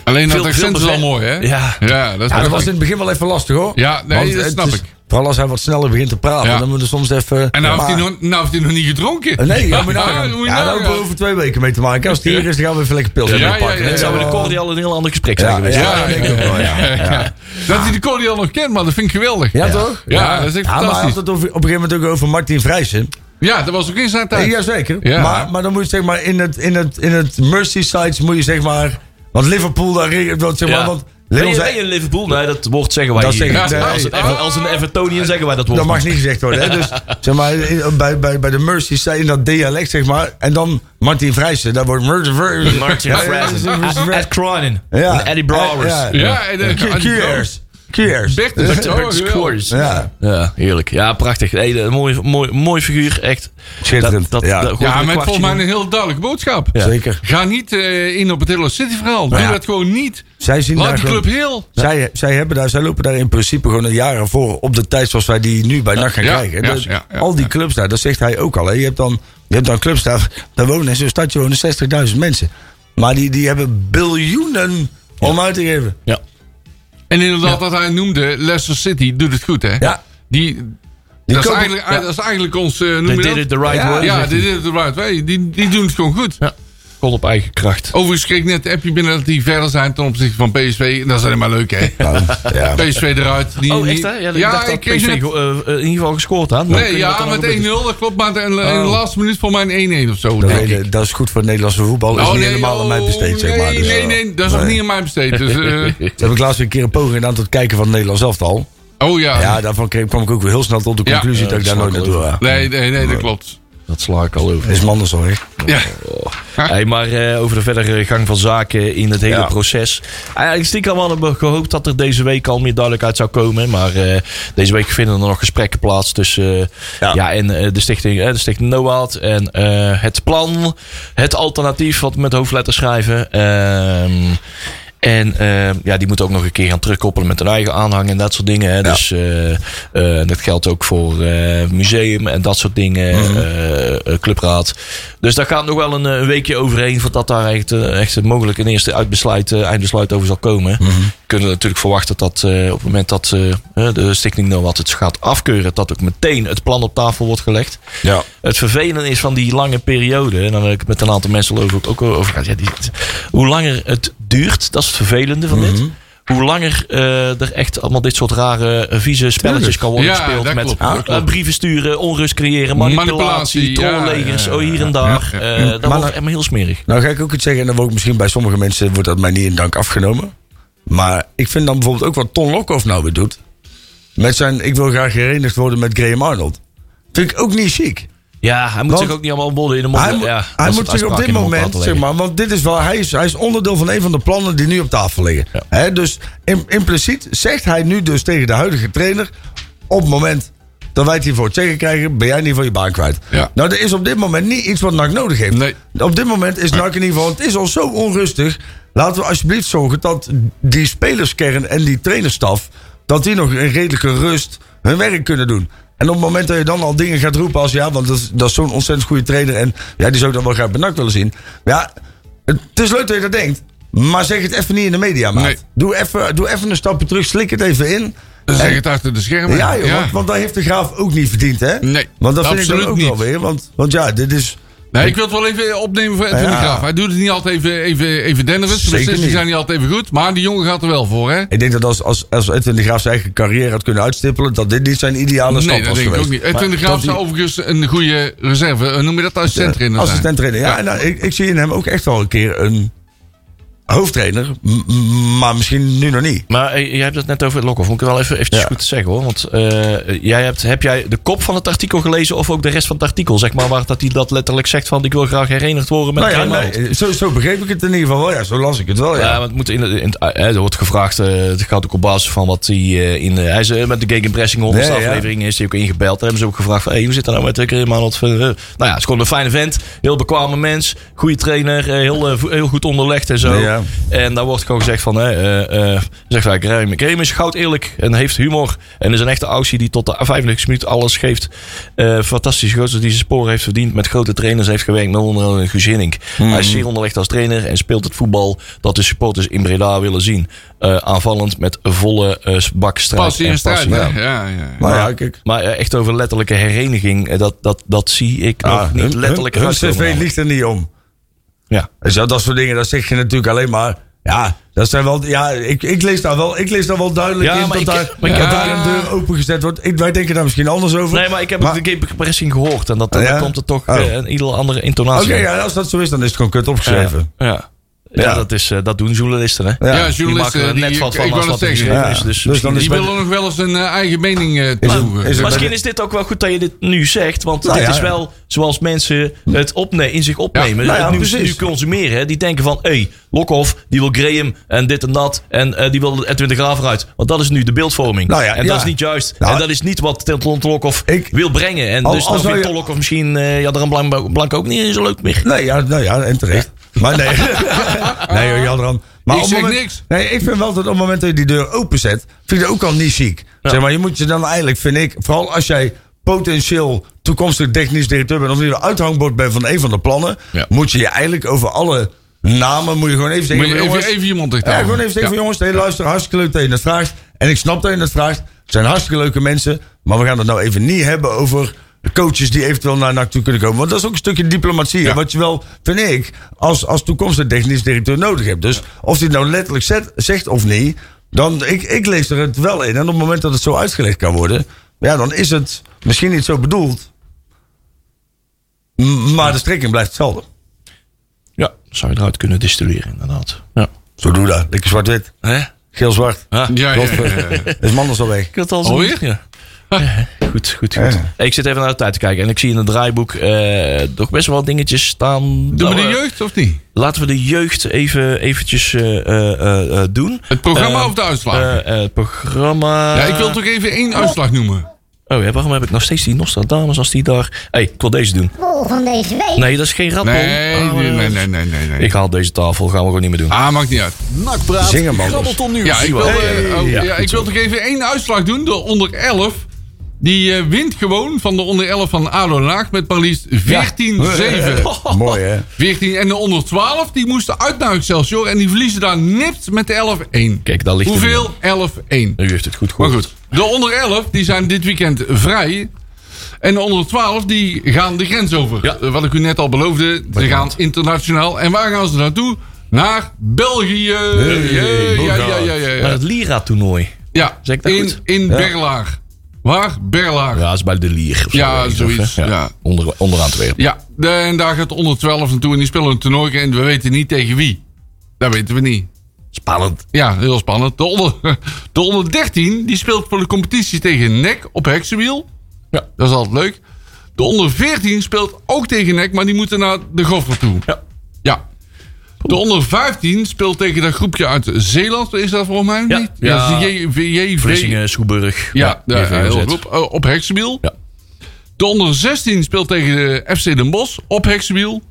Alleen
Veel-
dat accent
veel
is al
beve-
mooi, hè?
Ja.
Ja, dat is
Ja, dat was in
prachtig.
het begin wel even lastig hoor.
Ja, nee, dat
het
snap
is-
ik.
Vooral als hij wat sneller begint te praten,
Ja.
dan moet er soms even.
En nou,
maar-
heeft hij nog, nou heeft hij nog niet gedronken.
Eh, Nee, ja, moet je
Ja,
nagaan.
moet je nou
ja, daar
nagaan.
hebben we over twee weken mee te maken. Als het hier is, dan gaan we even lekker pils
Ja,
hebben
ja,
pakken.
ja,
het
ja.
zou bij de Cordial een heel ander gesprek zijn
Ja,
geweest.
ja,
Ja,
ik
ja,
denk ook wel,
[LAUGHS]
ja.
ja, ja. Dat hij de Cordial nog kent, man, dat vind ik geweldig.
Ja, toch?
Ja, dat is echt
maar hij had
fantastisch.
het over- op een gegeven moment ook over Martin Vrijsen.
Ja, dat was ook in zijn
Ja,
tijd.
Jazeker.
Ja.
Maar, maar dan moet je zeg maar in het, in het, in het Merseyside moet je zeg maar. Want Liverpool daar. re- dat, Zeg maar,
Ja.
want
Ben
Leon
je, ben
zei.
je in Liverpool? Nee, dat woord zeggen wij
Dat
hier.
zeg ik, nee.
als, een, Ever- als een Evertonian zeggen wij dat woord.
Dat mag
niet.
niet gezegd worden. Hè?
[LAUGHS]
Dus zeg maar, in- bij, bij, bij de Merseyside in dat dialect zeg maar. En dan Martin Vrijsen. Daar wordt Martin Vrijsen.
Martin
Ja, ja,
Fraser. Ah,
dat is- dat is-
Ed Cronin.
Ja.
En Eddie Browers.
Ja,
Ja, en eh,
Q-
aan die
QR's. QR's.
Bert is
Bert-
zo
Bert
geweldig.
Squires.
Ja.
Ja, heerlijk. Ja, prachtig. Hey, een mooi, mooi, mooi figuur, echt.
Schitterend, ja.
gooit er
Ja,
een
met
kwartje
volgens mij
in.
een heel duidelijke boodschap.
Zeker.
Ga niet eh, in op het hele City-verhaal. Doe
Ja.
dat gewoon niet.
Zij zien
Laat
daar
die
gewoon-
club heel.
Zij, zij, hebben daar, zij lopen daar in principe gewoon een jaren voor op de tijd zoals wij die nu bij NAC gaan
ja,
krijgen.
ja,
Dus
ja, ja,
al die
ja.
clubs daar, dat zegt hij ook al. Hè. Je, hebt dan, je hebt dan clubs daar, daar wonen in zo'n stadje wonen 60.000 mensen. Maar die, die hebben biljoenen om uit te geven.
Ja.
En inderdaad, wat hij noemde, Leicester City doet het goed, hè?
Ja.
Die, dat, is
kopen-
eigenlijk, dat is eigenlijk ons... eh, noem
They
je
did
dat?
it the right
Ja,
way.
Ja,
zegt
dit
hij.
is het right way. Die, die doen het gewoon goed.
Kon op eigen kracht.
Overigens kreeg ik net een appje binnen dat die verder zijn ten opzichte van PSV. En dat is helemaal leuk, hè? [LAUGHS]
Nou, ja.
PSV eruit. Die,
Oh, echt hè? Ja,
Ja,
ik dacht dat
ik kreeg
PSV
net...
go- eh, eh, in ieder geval gescoord had.
Nee, ja, met 1-0, dat klopt. Maar in de, in de laatste minuut voor mij een 1-1 of zo.
Oh. Dat,
denk ik.
weet ik, dat is goed voor het Nederlandse voetbal. Dat is niet helemaal aan mij besteed, zeg maar.
Oh, Nee,
Dus,
nee,
eh,
nee, dat is nog niet aan mij besteed. Dus,
[LAUGHS]
eh,
Toen heb ik laatst weer een keer een poging gedaan tot kijken van het Nederlands elftal.
oh ja.
Ja, daarvan kreeg- kwam ik ook weer heel snel tot de
Ja.
conclusie
Ja,
dat ik daar
dat
nooit
snap ik
naartoe ga.
Nee, nee, nee, dat klopt.
Dat sla ik al over.
Is mandelzorg.
Ja.
Hey, maar eh, over de verdere gang van zaken in het hele proces. Eigenlijk stiekem hadden we gehoopt dat er deze week al meer duidelijkheid zou komen. Maar eh, deze week vinden er nog gesprekken plaats tussen eh, ja.
Ja.
en eh, de stichting, eh, de stichting NOAD en eh, het plan. Het alternatief wat we met hoofdletters schrijven. Ehm, en eh, ja, die moeten ook nog een keer gaan terugkoppelen met hun eigen aanhang en dat soort dingen. Hè. Dus eh, eh, dat geldt ook voor eh, museum en dat soort dingen, eh, eh, clubraad. Dus daar gaat nog wel een, eh, een weekje overheen voordat daar echt, eh, echt mogelijk een eerste uitbesluit, eh, eindbesluit over zal komen. Kunnen we natuurlijk verwachten dat eh, op het moment dat eh, eh, de Stichting nou wat het gaat afkeuren, dat ook meteen het plan op tafel wordt gelegd.
Ja.
Het vervelende is van die lange periode, en dan heb ik het met een aantal mensen over, ook over gehad. Ja, die, hoe langer het duurt, dat is het vervelende van dit. Hoe langer eh, er echt allemaal dit soort rare, eh, vieze spelletjes kan worden
Ja,
gespeeld.
dat
Met
klopt, dat
eh,
klopt.
brieven sturen, onrust creëren, manipulatie,
Manipulatie, ja,
trollegers,
ja, ja,
oh hier en
ja,
daar.
ja,
Eh,
ja.
dat
Maar
wordt
dan-
helemaal heel smerig.
Nou ga ik ook iets zeggen, en dan wordt misschien bij sommige mensen wordt dat mij niet in dank afgenomen. Maar ik vind dan bijvoorbeeld ook wat Ton Lokhoff nou weer doet. Met zijn ik wil graag herenigd worden met Graham Arnold. Vind ik ook niet chic.
Ja, hij moet
Want-
zich ook niet allemaal bollen in de mond.
Hij, moet-
ja,
hij
als het
moet zich op
uitspraak
dit
in de mond laten
moment, zeg
leggen.
maar, want dit is wel, hij is, hij is onderdeel van een van de plannen die nu op tafel liggen.
Ja.
Hè, dus im- impliciet zegt hij nu dus tegen de huidige trainer: op het moment dan wij het hier voor het zeggen krijgen, ben jij niet van je baan kwijt.
Ja.
Nou, er is op dit moment niet iets wat NAC nodig heeft.
Nee.
Op dit moment is NAC in ieder geval, het is al zo onrustig. Laten we alsjeblieft zorgen dat die spelerskern en die trainerstaf, dat die nog in redelijke rust hun werk kunnen doen. En op het moment dat je dan al dingen gaat roepen als ja, want dat is, dat is zo'n ontzettend goede trainer en ja, die zou ik dan wel graag bij NAC willen zien. Ja, het is leuk dat je dat denkt, maar zeg het even niet in de media, maat.
Nee.
Doe even, doe even een stapje terug, slik het even in.
Zeg
En-
het achter de schermen.
ja, joh, Want, want dat heeft de graaf ook niet verdiend, hè?
Nee,
Want dat vind ik dan
absoluut
ook
niet.
wel weer. Want, want ja, dit is.
Nee, ik wil het wel even opnemen voor Edwin
Ja.
de Graaf. Hij doet het niet altijd even, even, even Dennis. De
Zeker
beslissingen
niet.
zijn niet altijd even goed. Maar die jongen gaat er wel voor, hè?
Ik denk dat als, als, als Edwin de Graaf zijn eigen carrière had kunnen uitstippelen, dat dit niet zijn ideale stap
Nee,
was
dat denk ik
geweest.
ook niet.
Maar
Edwin de Graaf
dat
zou
die
overigens een goede reserve. eh, Noem je dat als centrainer?
Assistent trainer. Ja, en nou, ik, ik zie in hem ook echt wel een keer een hoofdtrainer. m- m- Maar misschien nu nog niet.
Maar eh, jij hebt het net over het Lokhoff. Moet ik wel even eventjes goed zeggen hoor. Want eh, jij hebt, heb jij de kop van het artikel gelezen of ook de rest van het artikel? Zeg maar waar dat hij dat letterlijk zegt van ik wil graag herenigd worden met
Nou ja,
Real Madrid.
nee, zo, zo begreep ik het in ieder geval wel. Ja, zo las ik het wel. Ja.
Ja, maar het moet in, in, het- eh, er wordt gevraagd, eh, het gaat ook op basis van wat hij eh, in... eh, hij is eh, met de Gegenpressing 100
Nee, ja.
aflevering is hij ook ingebeld. Daar hebben ze ook gevraagd van, hey, hoe zit dat nou met Tucker man? Wat, voor, eh, nou ja, het is gewoon een fijne vent. Heel bekwame mens. Goede trainer. eh, heel, eh, vo- heel goed onderlegd en zo.
Nee, ja.
En daar wordt gewoon gezegd van, hè, eh eh zeg maar, Graham Graham is goud eerlijk en heeft humor. En is een echte Aussie die tot de 95 minuut alles geeft. Eh fantastisch gozer die zijn sporen heeft verdiend. Met grote trainers heeft gewerkt, met onder andere Guus Hiddink. Hij is zeer onderlegd als trainer en speelt het voetbal dat de supporters in Breda willen zien. Eh, aanvallend met volle eh bak strijd
Pas in
en
strijd,
passie.
hè?
Ja.
Ja, ja.
maar ja, kijk.
Maar eh, echt over letterlijke hereniging, eh, dat, dat, dat zie ik nog
Ah,
niet
hun-
letterlijk
hun, hun
eruit komen
cv
halen.
ligt er niet om.
Ja.
Dus dat, dat soort dingen, dat zeg je natuurlijk alleen maar. Ja, dat zijn wel, ja ik, ik, lees daar wel, ik lees daar wel duidelijk
Ja,
in
maar
dat,
ik-
daar,
maar ik-
dat
ja.
daar een deur opengezet wordt. Ik, wij denken daar misschien anders over.
Nee, maar ik heb
Maar-
de Gegenpressing gehoord. En dat,
Ah, ja?
dan komt er toch
Oh.
eh, een ieder andere intonatie.
Oké,
aan.
ja, als dat zo is, dan is het gewoon kut opgeschreven.
Ja. Ja. Ja,
Ja.
dat, is, eh, dat doen journalisten, hè?
Ja.
Ja,
Die
journalisten,
maken er
die,
net wat
ik,
van
ik
als
wil het
wat er
zeggen.
geschreven
Ja.
is. Dus,
Dus dan
misschien-
is
Die
bij-
willen nog wel eens een eh, eigen mening eh,
Is het-
toevoegen.
is het-
Misschien is dit ook wel goed dat je dit nu zegt. Want
Nou
dit
ja,
is
ja.
wel zoals mensen het opne in zich opnemen.
Ja, nou ja,
het nieuws
precies.
nu consumeren. hè. Die denken van, hé, hey, Lokhoff, die wil Graham en dit en dat. En eh, die wil Edwin de Graaf eruit. Want dat is nu de beeldvorming.
Nou ja,
en
ja.
dat is niet juist.
Nou,
en dat is niet wat Ton Lokhoff
ik-
wil brengen. En
Al-
dus
al
dan
zou
vindt
je-
Ton Lokhoff misschien eh, ja, er een blank, blank ook niet zo leuk meer.
Nee, ja, nou ja, en terecht.
[LAUGHS]
Maar nee. nee, joh, Jadran. Maar
Ik
op
zeg
moment-
niks.
Nee, ik vind wel dat op het moment dat je die deur openzet, vind ik dat ook al niet ziek. Zeg maar, je moet je dan eigenlijk, vind ik, vooral als jij potentieel toekomstig technisch directeur bent, of liever uithangbord bent van een van de plannen,
Ja.
moet je je eigenlijk over alle namen, moet je gewoon even zeggen,
Moet je
van,
even,
jongens,
even je mond dicht
ja,
houden.
gewoon even zeggen van jongens, hey, luister, hartstikke leuk dat je dat vraagt. En ik snap dat je dat vraagt. Het zijn hartstikke leuke mensen. Maar we gaan het nou even niet hebben over coaches die eventueel naar NAC toe kunnen komen. Want dat is ook een stukje diplomatie. hè, Wat je wel, vind ik, als, als toekomstig technisch directeur nodig hebt. Dus of hij het nou letterlijk zet- zegt of niet, dan ik, ik lees er het wel in. En op het moment dat het zo uitgelegd kan worden, ja, dan is het misschien niet zo bedoeld. M- Maar de strekking blijft hetzelfde.
Ja, zou je eruit kunnen distilleren, inderdaad. Ja.
Zo doe dat. Lekker zwart-wit.
Hè?
Geel-zwart.
Ja.
Ja, ja, ja,
eh.
ja.
Is mandels al weg.
Ik had al
Oh,
zo'n- Ja. Ja, Goed, goed, goed.
Ja.
Ik zit even naar de tijd te kijken. En ik zie in het draaiboek eh nog best wel wat dingetjes staan.
Doen we de
Nou, eh,
jeugd of niet?
Laten we de jeugd even eventjes, eh, eh, eh, eh, doen.
Het programma
Eh,
of de uitslagen?
eh, eh, het programma...
ja, ik wil toch even één uitslag noemen.
Oh ja, waarom heb ik nog steeds die Nostradamus als die daar... hey, ik wil deze doen.
Bol van deze week.
Nee, dat is geen rappel.
Nee,
Ah,
nee,
eh,
nee, nee, nee, nee, nee.
Ik haal deze tafel. Gaan we gewoon niet meer doen.
Ah, maakt niet uit.
Nakpraat,
Zing
dus.
hem anders.
grabbelton nieuws.
Ja, ik wil,
Hey.
eh, oh,
Ja,
ja, ik wil toch even één uitslag doen. De onder 11. Die eh, wint gewoon van de onder 11 van ADO Den Haag met maar liefst 14-7.
Oh.
Mooi, hè?
14 en de onder 12 die moesten uit naar Excelsior en die verliezen daar nipt met de 11-1.
Kijk, daar ligt het
Hoeveel? 11-1.
Nu heeft het goed
Maar
gehoord.
goed, de onder 11 die zijn dit weekend vrij. En de onder 12 die gaan de grens over.
Ja.
Eh, Wat ik u net al beloofde, ze gaan internationaal. En waar gaan ze naartoe? Naar België. ja, ja, ja, ja,
Naar
ja.
het Lira-toernooi.
ja.
Zeg ik dat
in,
goed?
in Berlaag. Waar? Berlaag.
Ja, dat is bij de Lier. of zo,
Ja,
weet ik nog,
zoiets,
hè.
ja.
Onder, onderaan twee.
Ja, de- en daar gaat de onder 12 naartoe en die spelen een toernooi en we weten niet tegen wie. Dat weten we niet.
Spannend.
Ja, heel spannend. De onder, [LAUGHS] de onder 13 die speelt voor de competitie tegen NEC op heksenwiel.
Ja.
Dat is altijd leuk. De onder 14 speelt ook tegen NEC, maar die moeten naar de Goffer toe.
Ja.
Ja. De onder 15 speelt tegen dat groepje uit Zeeland, is dat volgens mij?
Ja.
niet?
Ja.
dat is de JVV.
Vlissingen, Soeburg.
Ja, ja,
even
heel
gezet.
goed. Op, eh, op Heksenwiel.
Ja.
De onder 16 speelt tegen de FC Den Bosch op Heksenwiel.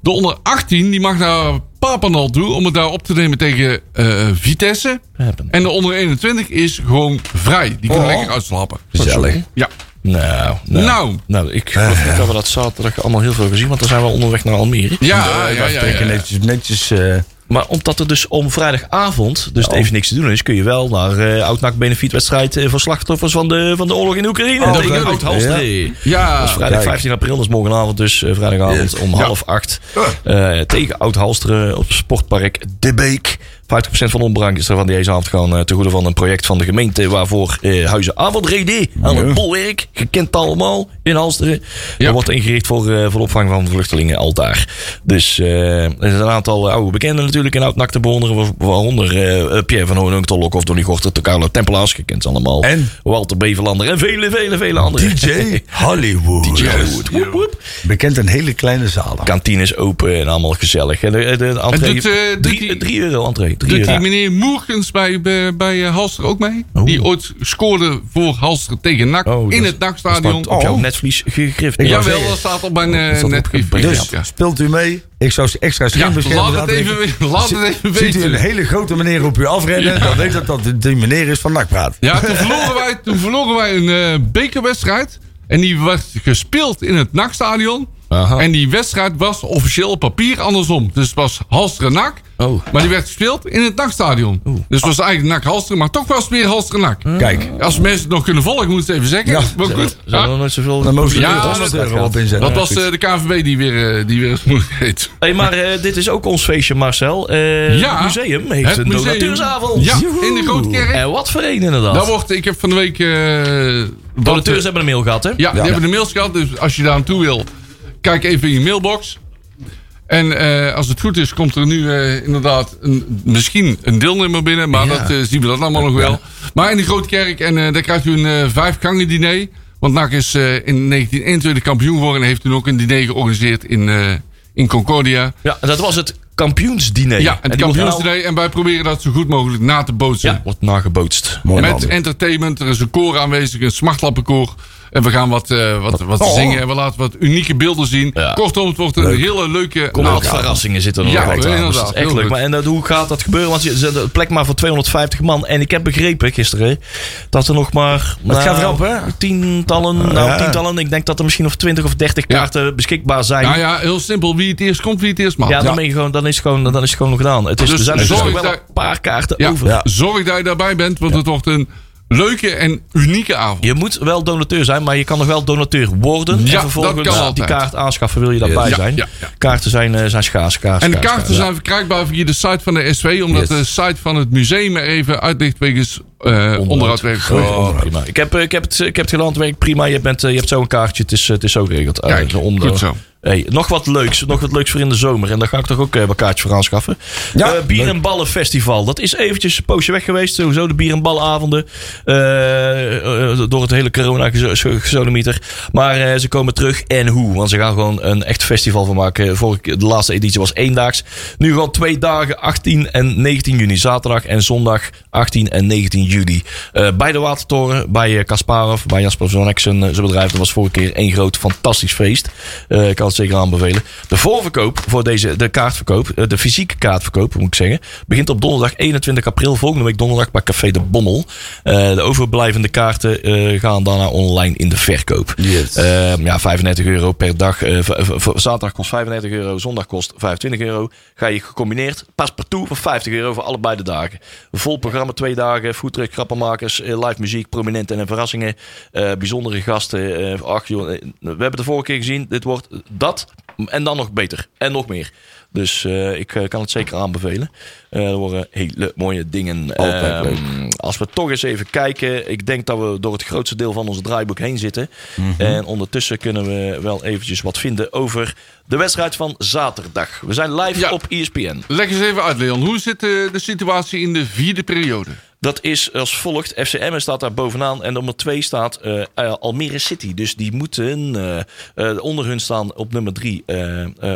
De onder 18 die mag naar Papendal toe om het daar op te nemen tegen eh, Vitesse.
Papendal.
En de onder 21 is gewoon vrij. Die
Oh.
kunnen lekker uitslappen.
Gezellig.
Ja.
Nou, nou,
Nou.
Nou, ik geloof niet dat we dat zaterdag allemaal heel veel gezien, want dan zijn we onderweg naar Almere.
Ja, ja,
Wij
ja,
trekken
ja, ja.
netjes, netjes eh,
Maar omdat er dus om vrijdagavond dus
Oh.
even niks te doen is, kun je wel naar eh oud benefietwedstrijd eh, voor slachtoffers van de, van de oorlog in Oekraïne
Oh,
tegen
leuk.
oud Halstree.
Ja.
Dat is Dus vrijdag
kijk.
15 april, dat is morgenavond dus, eh, vrijdagavond om half acht. eh, tegen Oud-Halsteren op sportpark De Beek. 50% van de opbrengsten van deze avond gaan eh, ten goede van een project van de gemeente... waarvoor eh, Huizen Avondrede aan het bolwerk, gekend allemaal, in Halsteren...
Ja.
wordt ingericht voor, eh, voor de opvang van vluchtelingen al daar. Dus eh, er zijn een aantal oude bekenden natuurlijk in oud te bewonderen... waaronder eh, Pierre van Hoornhoek, Tolokhoff, Donnie Gorter, Carlo Tempelaars, gekend allemaal.
En?
Walter Bevelander en vele, vele, vele anderen. [LAUGHS]
DJ [LAUGHS] Hollywood.
Woep, woep, woep.
Bekend in hele kleine zalen.
Kantine is open en allemaal gezellig. En de, de entree,
doet, eh,
drie,
doet die-
drie euro entree. Drie
Doet
euro.
die meneer Moerkens bij, bij, bij eh, Halster ook mee? Die ooit scoorde voor Halster tegen NAC
Oh,
in
dat-
het
Dat
NAC-stadion.
staat op jouw
Oh.
netvlies gegrift.
Ik wou
Jawel,
zeggen.
dat staat op mijn
Is
eh
dat
netvlies.
opgebrand?
Dus,
Dus
ja.
speelt u mee? Ik zou ze extra scherm
Ja,
beschermen.
laat het
laten
even
weten.
we- laat het
Zie-
even
Ziet u
weten.
een hele grote meneer op u afrennen, dan weet dat dat de- die meneer is van Nakpraat.
Ja, toen verloren wij, toen verloren wij een eh, bekerwedstrijd. En die werd gespeeld in het NAC-stadion.
Aha.
En die wedstrijd was officieel op papier andersom. Dus het was Halsteren-NAC.
Oh.
Maar die werd gespeeld in het NAC-stadion. Dus het was eigenlijk NAC-Halsteren, maar toch was het weer Halsteren-NAC.
Kijk,
Als mensen het nog kunnen volgen, moet ik het even zeggen.
Ja,
maar goed.
Zijn er
Ja.
nog nooit zoveel...
dan mogen ze
Ja,
er
dat
100
gaat.
euro op inzetten.
Dat was eh, de KVB die weer, eh, die weer [LAUGHS] eens moeilijk heet.
Hey, maar eh, dit is ook ons feestje, Marcel. Eh,
Ja,
het museum heeft
het
een
museum.
donateursavond.
Ja, in de Grote Kerk.
En wat voor een inderdaad.
Dat wordt, ik heb van de week... eh, dat-
Donateurs hebben een mail gehad, hè?
Ja, die hebben de mails gehad. Dus als je daar aan toe wil, kijk even in je mailbox. En eh, als het goed is, komt er nu eh, inderdaad een, misschien een deelnemer binnen. Maar dat eh, zien we dat allemaal nog wel. Maar in de Grote Kerk, en eh, daar krijgt u een eh vijfgangen diner. Want NAC is eh, in 1921 kampioen geworden. En heeft toen ook een diner georganiseerd in, eh, in Concordia.
Ja, dat was het kampioensdiner.
Ja,
En
het
die wordt
kampioensdiner. En wij proberen dat zo goed mogelijk na te
nou-
bootsen.
Ja, wordt nagebootst.
Mooi
Met
man.
entertainment, er is een koor aanwezig, een smartlappenkoor. En we gaan wat, eh, wat, wat zingen en we laten wat unieke beelden zien.
Oh. Ja.
Kortom, het wordt een hele leuke...
Kom,
Nou,
wat verrassingen zitten er
Ja,
nog altijd aan. Dus
inderdaad,
dat is echt
heel
leuk.
goed.
Maar en dat, hoe gaat dat gebeuren? Want je zet een plek maar voor 250 man. En ik heb begrepen gisteren dat er nog maar... nou,
gaat rap, hè?
Tientallen, nou
Ja.
tientallen. Ik denk dat er misschien nog 20 of 30
Ja.
kaarten beschikbaar zijn.
nou
Ja,
ja, heel simpel. Wie het eerst komt, wie het eerst mag.
dan, ben je gewoon, dan, is het gewoon, dan is het gewoon nog gedaan. Het is,
Dus
er zijn er
zorg
dus nog wel
dat-
een paar kaarten
Ja,
over.
Zorg dat je daarbij bent, want het wordt een leuke en unieke avond.
Je moet wel donateur zijn, maar je kan nog wel donateur worden.
Ja,
en
dat
vervolgens
kan
die
altijd.
kaart aanschaffen wil je daarbij
Ja,
zijn.
ja, ja.
Kaarten zijn, eh, zijn schaars, kaars,
En de
schaars,
kaarten
schaars.
zijn verkrijgbaar via de site van de SV, omdat de site van het museum er even uitlicht wegens eh onderhoud. wegens-
Oh, prima. Ik heb, eh, ik heb het, ik heb het geland, werkt prima. Je, bent, eh, je hebt zo'n kaartje, het is, eh, het is zo geregeld. Eh,
Kijk,
zo om de-
goed zo.
Hey, nog wat leuks, nog wat leuks voor in de zomer. En daar ga ik toch ook eh, mijn kaartje voor aanschaffen.
Ja,
Eh, Bier en Ballen Festival. Dat is eventjes een poosje weg geweest. Sowieso de Bier en Ballenavonden. Eh, eh, door het hele corona gezo- zo- gezodemieter. Maar eh, ze komen terug en hoe. Want ze gaan gewoon een echt festival van maken. Vorige, keer- de laatste editie was eendaags. Nu gewoon twee dagen, 18 en 19 juni. Zaterdag en zondag 18 en 19 juli. Eh, bij de Watertoren, bij eh, Kasparov, bij Jasper Zonek zijn, eh, zijn bedrijf. Dat was vorige keer één groot fantastisch feest. Eh, ik kan het zeker aanbevelen. De voorverkoop voor deze, de kaartverkoop, eh, de fysieke kaartverkoop moet ik zeggen, begint op donderdag 21 april. Volgende week donderdag bij Café de Bommel. Eh, de overblijvende kaarten eh, gaan daarna online in de verkoop.
Yes.
Eh, ja, 35 euro per dag. Eh, v- v- v- zaterdag kost 35 euro, zondag kost 25 euro. Ga je gecombineerd paspartout voor 50 euro voor allebei de dagen. Vol programma twee dagen, foodtruck, grappenmakers, eh, live muziek, prominenten en verrassingen. eh, bijzondere gasten. eh, ach, joh, eh, we hebben het de vorige keer gezien. Dit wordt dat en dan nog beter. En nog meer. Dus eh, ik eh, kan het zeker aanbevelen. Eh, er worden hele mooie dingen.
Altijd
Ehm, als we toch eens even kijken. Ik denk dat we door het grootste deel van ons draaiboek heen zitten. En ondertussen kunnen we wel eventjes wat vinden over de wedstrijd van zaterdag. We zijn live
Ja.
op E ESPN.
Leg eens even uit, Leon. Hoe zit eh, de situatie in de vierde periode?
Dat is als volgt. FCM staat daar bovenaan. En nummer 2 staat eh, eh, Almere City. Dus die moeten eh, eh, onder hun staan op nummer 3.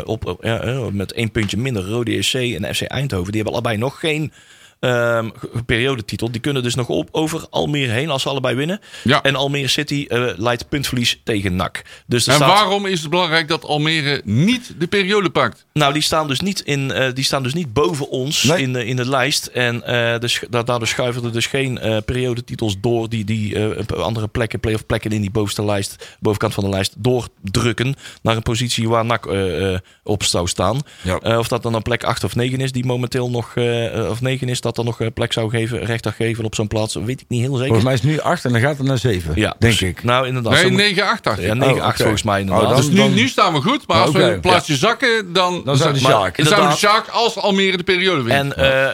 op, op- ja, eh, met één puntje minder. Rode SC en FC Eindhoven. Die hebben allebei nog geen ehm, ge- periodetitel. Die kunnen dus nog op, over Almere heen als ze allebei winnen.
Ja.
En Almere City eh, leidt puntverlies tegen NAC. Dus er
En
staat-
waarom is het belangrijk dat Almere niet de periode pakt?
nou, die staan dus niet, in, eh, die staan dus niet boven ons
Nee.
in, de, in de lijst. En eh dus, da- daardoor schuiven er dus geen eh, periodetitels door die, die eh, op andere plekken, play-off plekken in die bovenste lijst, bovenkant van de lijst, doordrukken naar een positie waar NAC eh, eh, op zou staan.
Ja.
Eh, of dat dan een plek 8 of 9 is, die momenteel nog, eh, eh, of 9 is, dat dan nog eh, plek zou geven, recht zou geven op zo'n plaats, weet ik niet heel zeker.
Volgens mij is het nu 8 en dan gaat het naar 7.
ja,
denk
dus-
ik.
Nou, inderdaad.
Nee,
zo moet-
9 8 dacht ik.
Ja, 9-8
Oh, oké.
volgens mij inderdaad.
Oh, dan-
Dus
dus nu, nu staan we goed, maar als
Oké,
we een plaatsje zakken, dan,
Dan zou de
Maar-
Sjaak.
dan zijn we de
inderdaad.
Sjaak als Almere de periode wint.
En eh,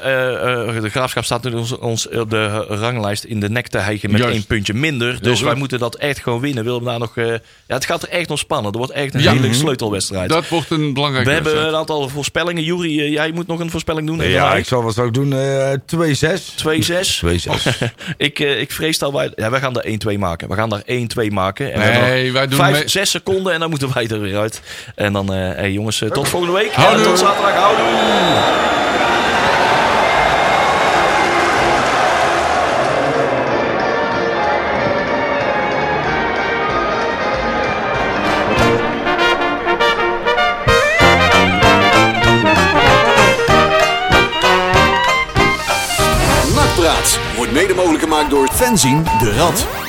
eh, eh, de graafschap staat nu ons, ons op de ranglijst in de nek te hijgen met
Juist.
één puntje minder. Dus
goed.
wij moeten dat echt gewoon winnen. Wil we daar nog, eh, ja, het gaat er echt nog spannen. Er wordt echt een
Ja.
hele
Mhm.
sleutelwedstrijd.
dat wordt een belangrijke
we hebben
wedstrijd.
een aantal voorspellingen. Jury, eh, jij moet nog een voorspelling doen.
Ja, ik zal wat zou ik doen? Eh 2-6. 2-6.
[LAUGHS]
2-6. [LAUGHS] ik, eh, ik vrees dat wij... Ja, wij gaan daar 1-2 maken. We gaan daar 1-2 maken. En we hebben
Nee,
nog
wij doen
vijf,
mee-
zes seconden en dan moeten wij er weer uit. En dan, eh, hey, jongens, eh, tot volgende week.
Houdoe.
En tot zaterdag. Houden.
Nakpraat wordt mede mogelijk gemaakt door Fenzin de Rad.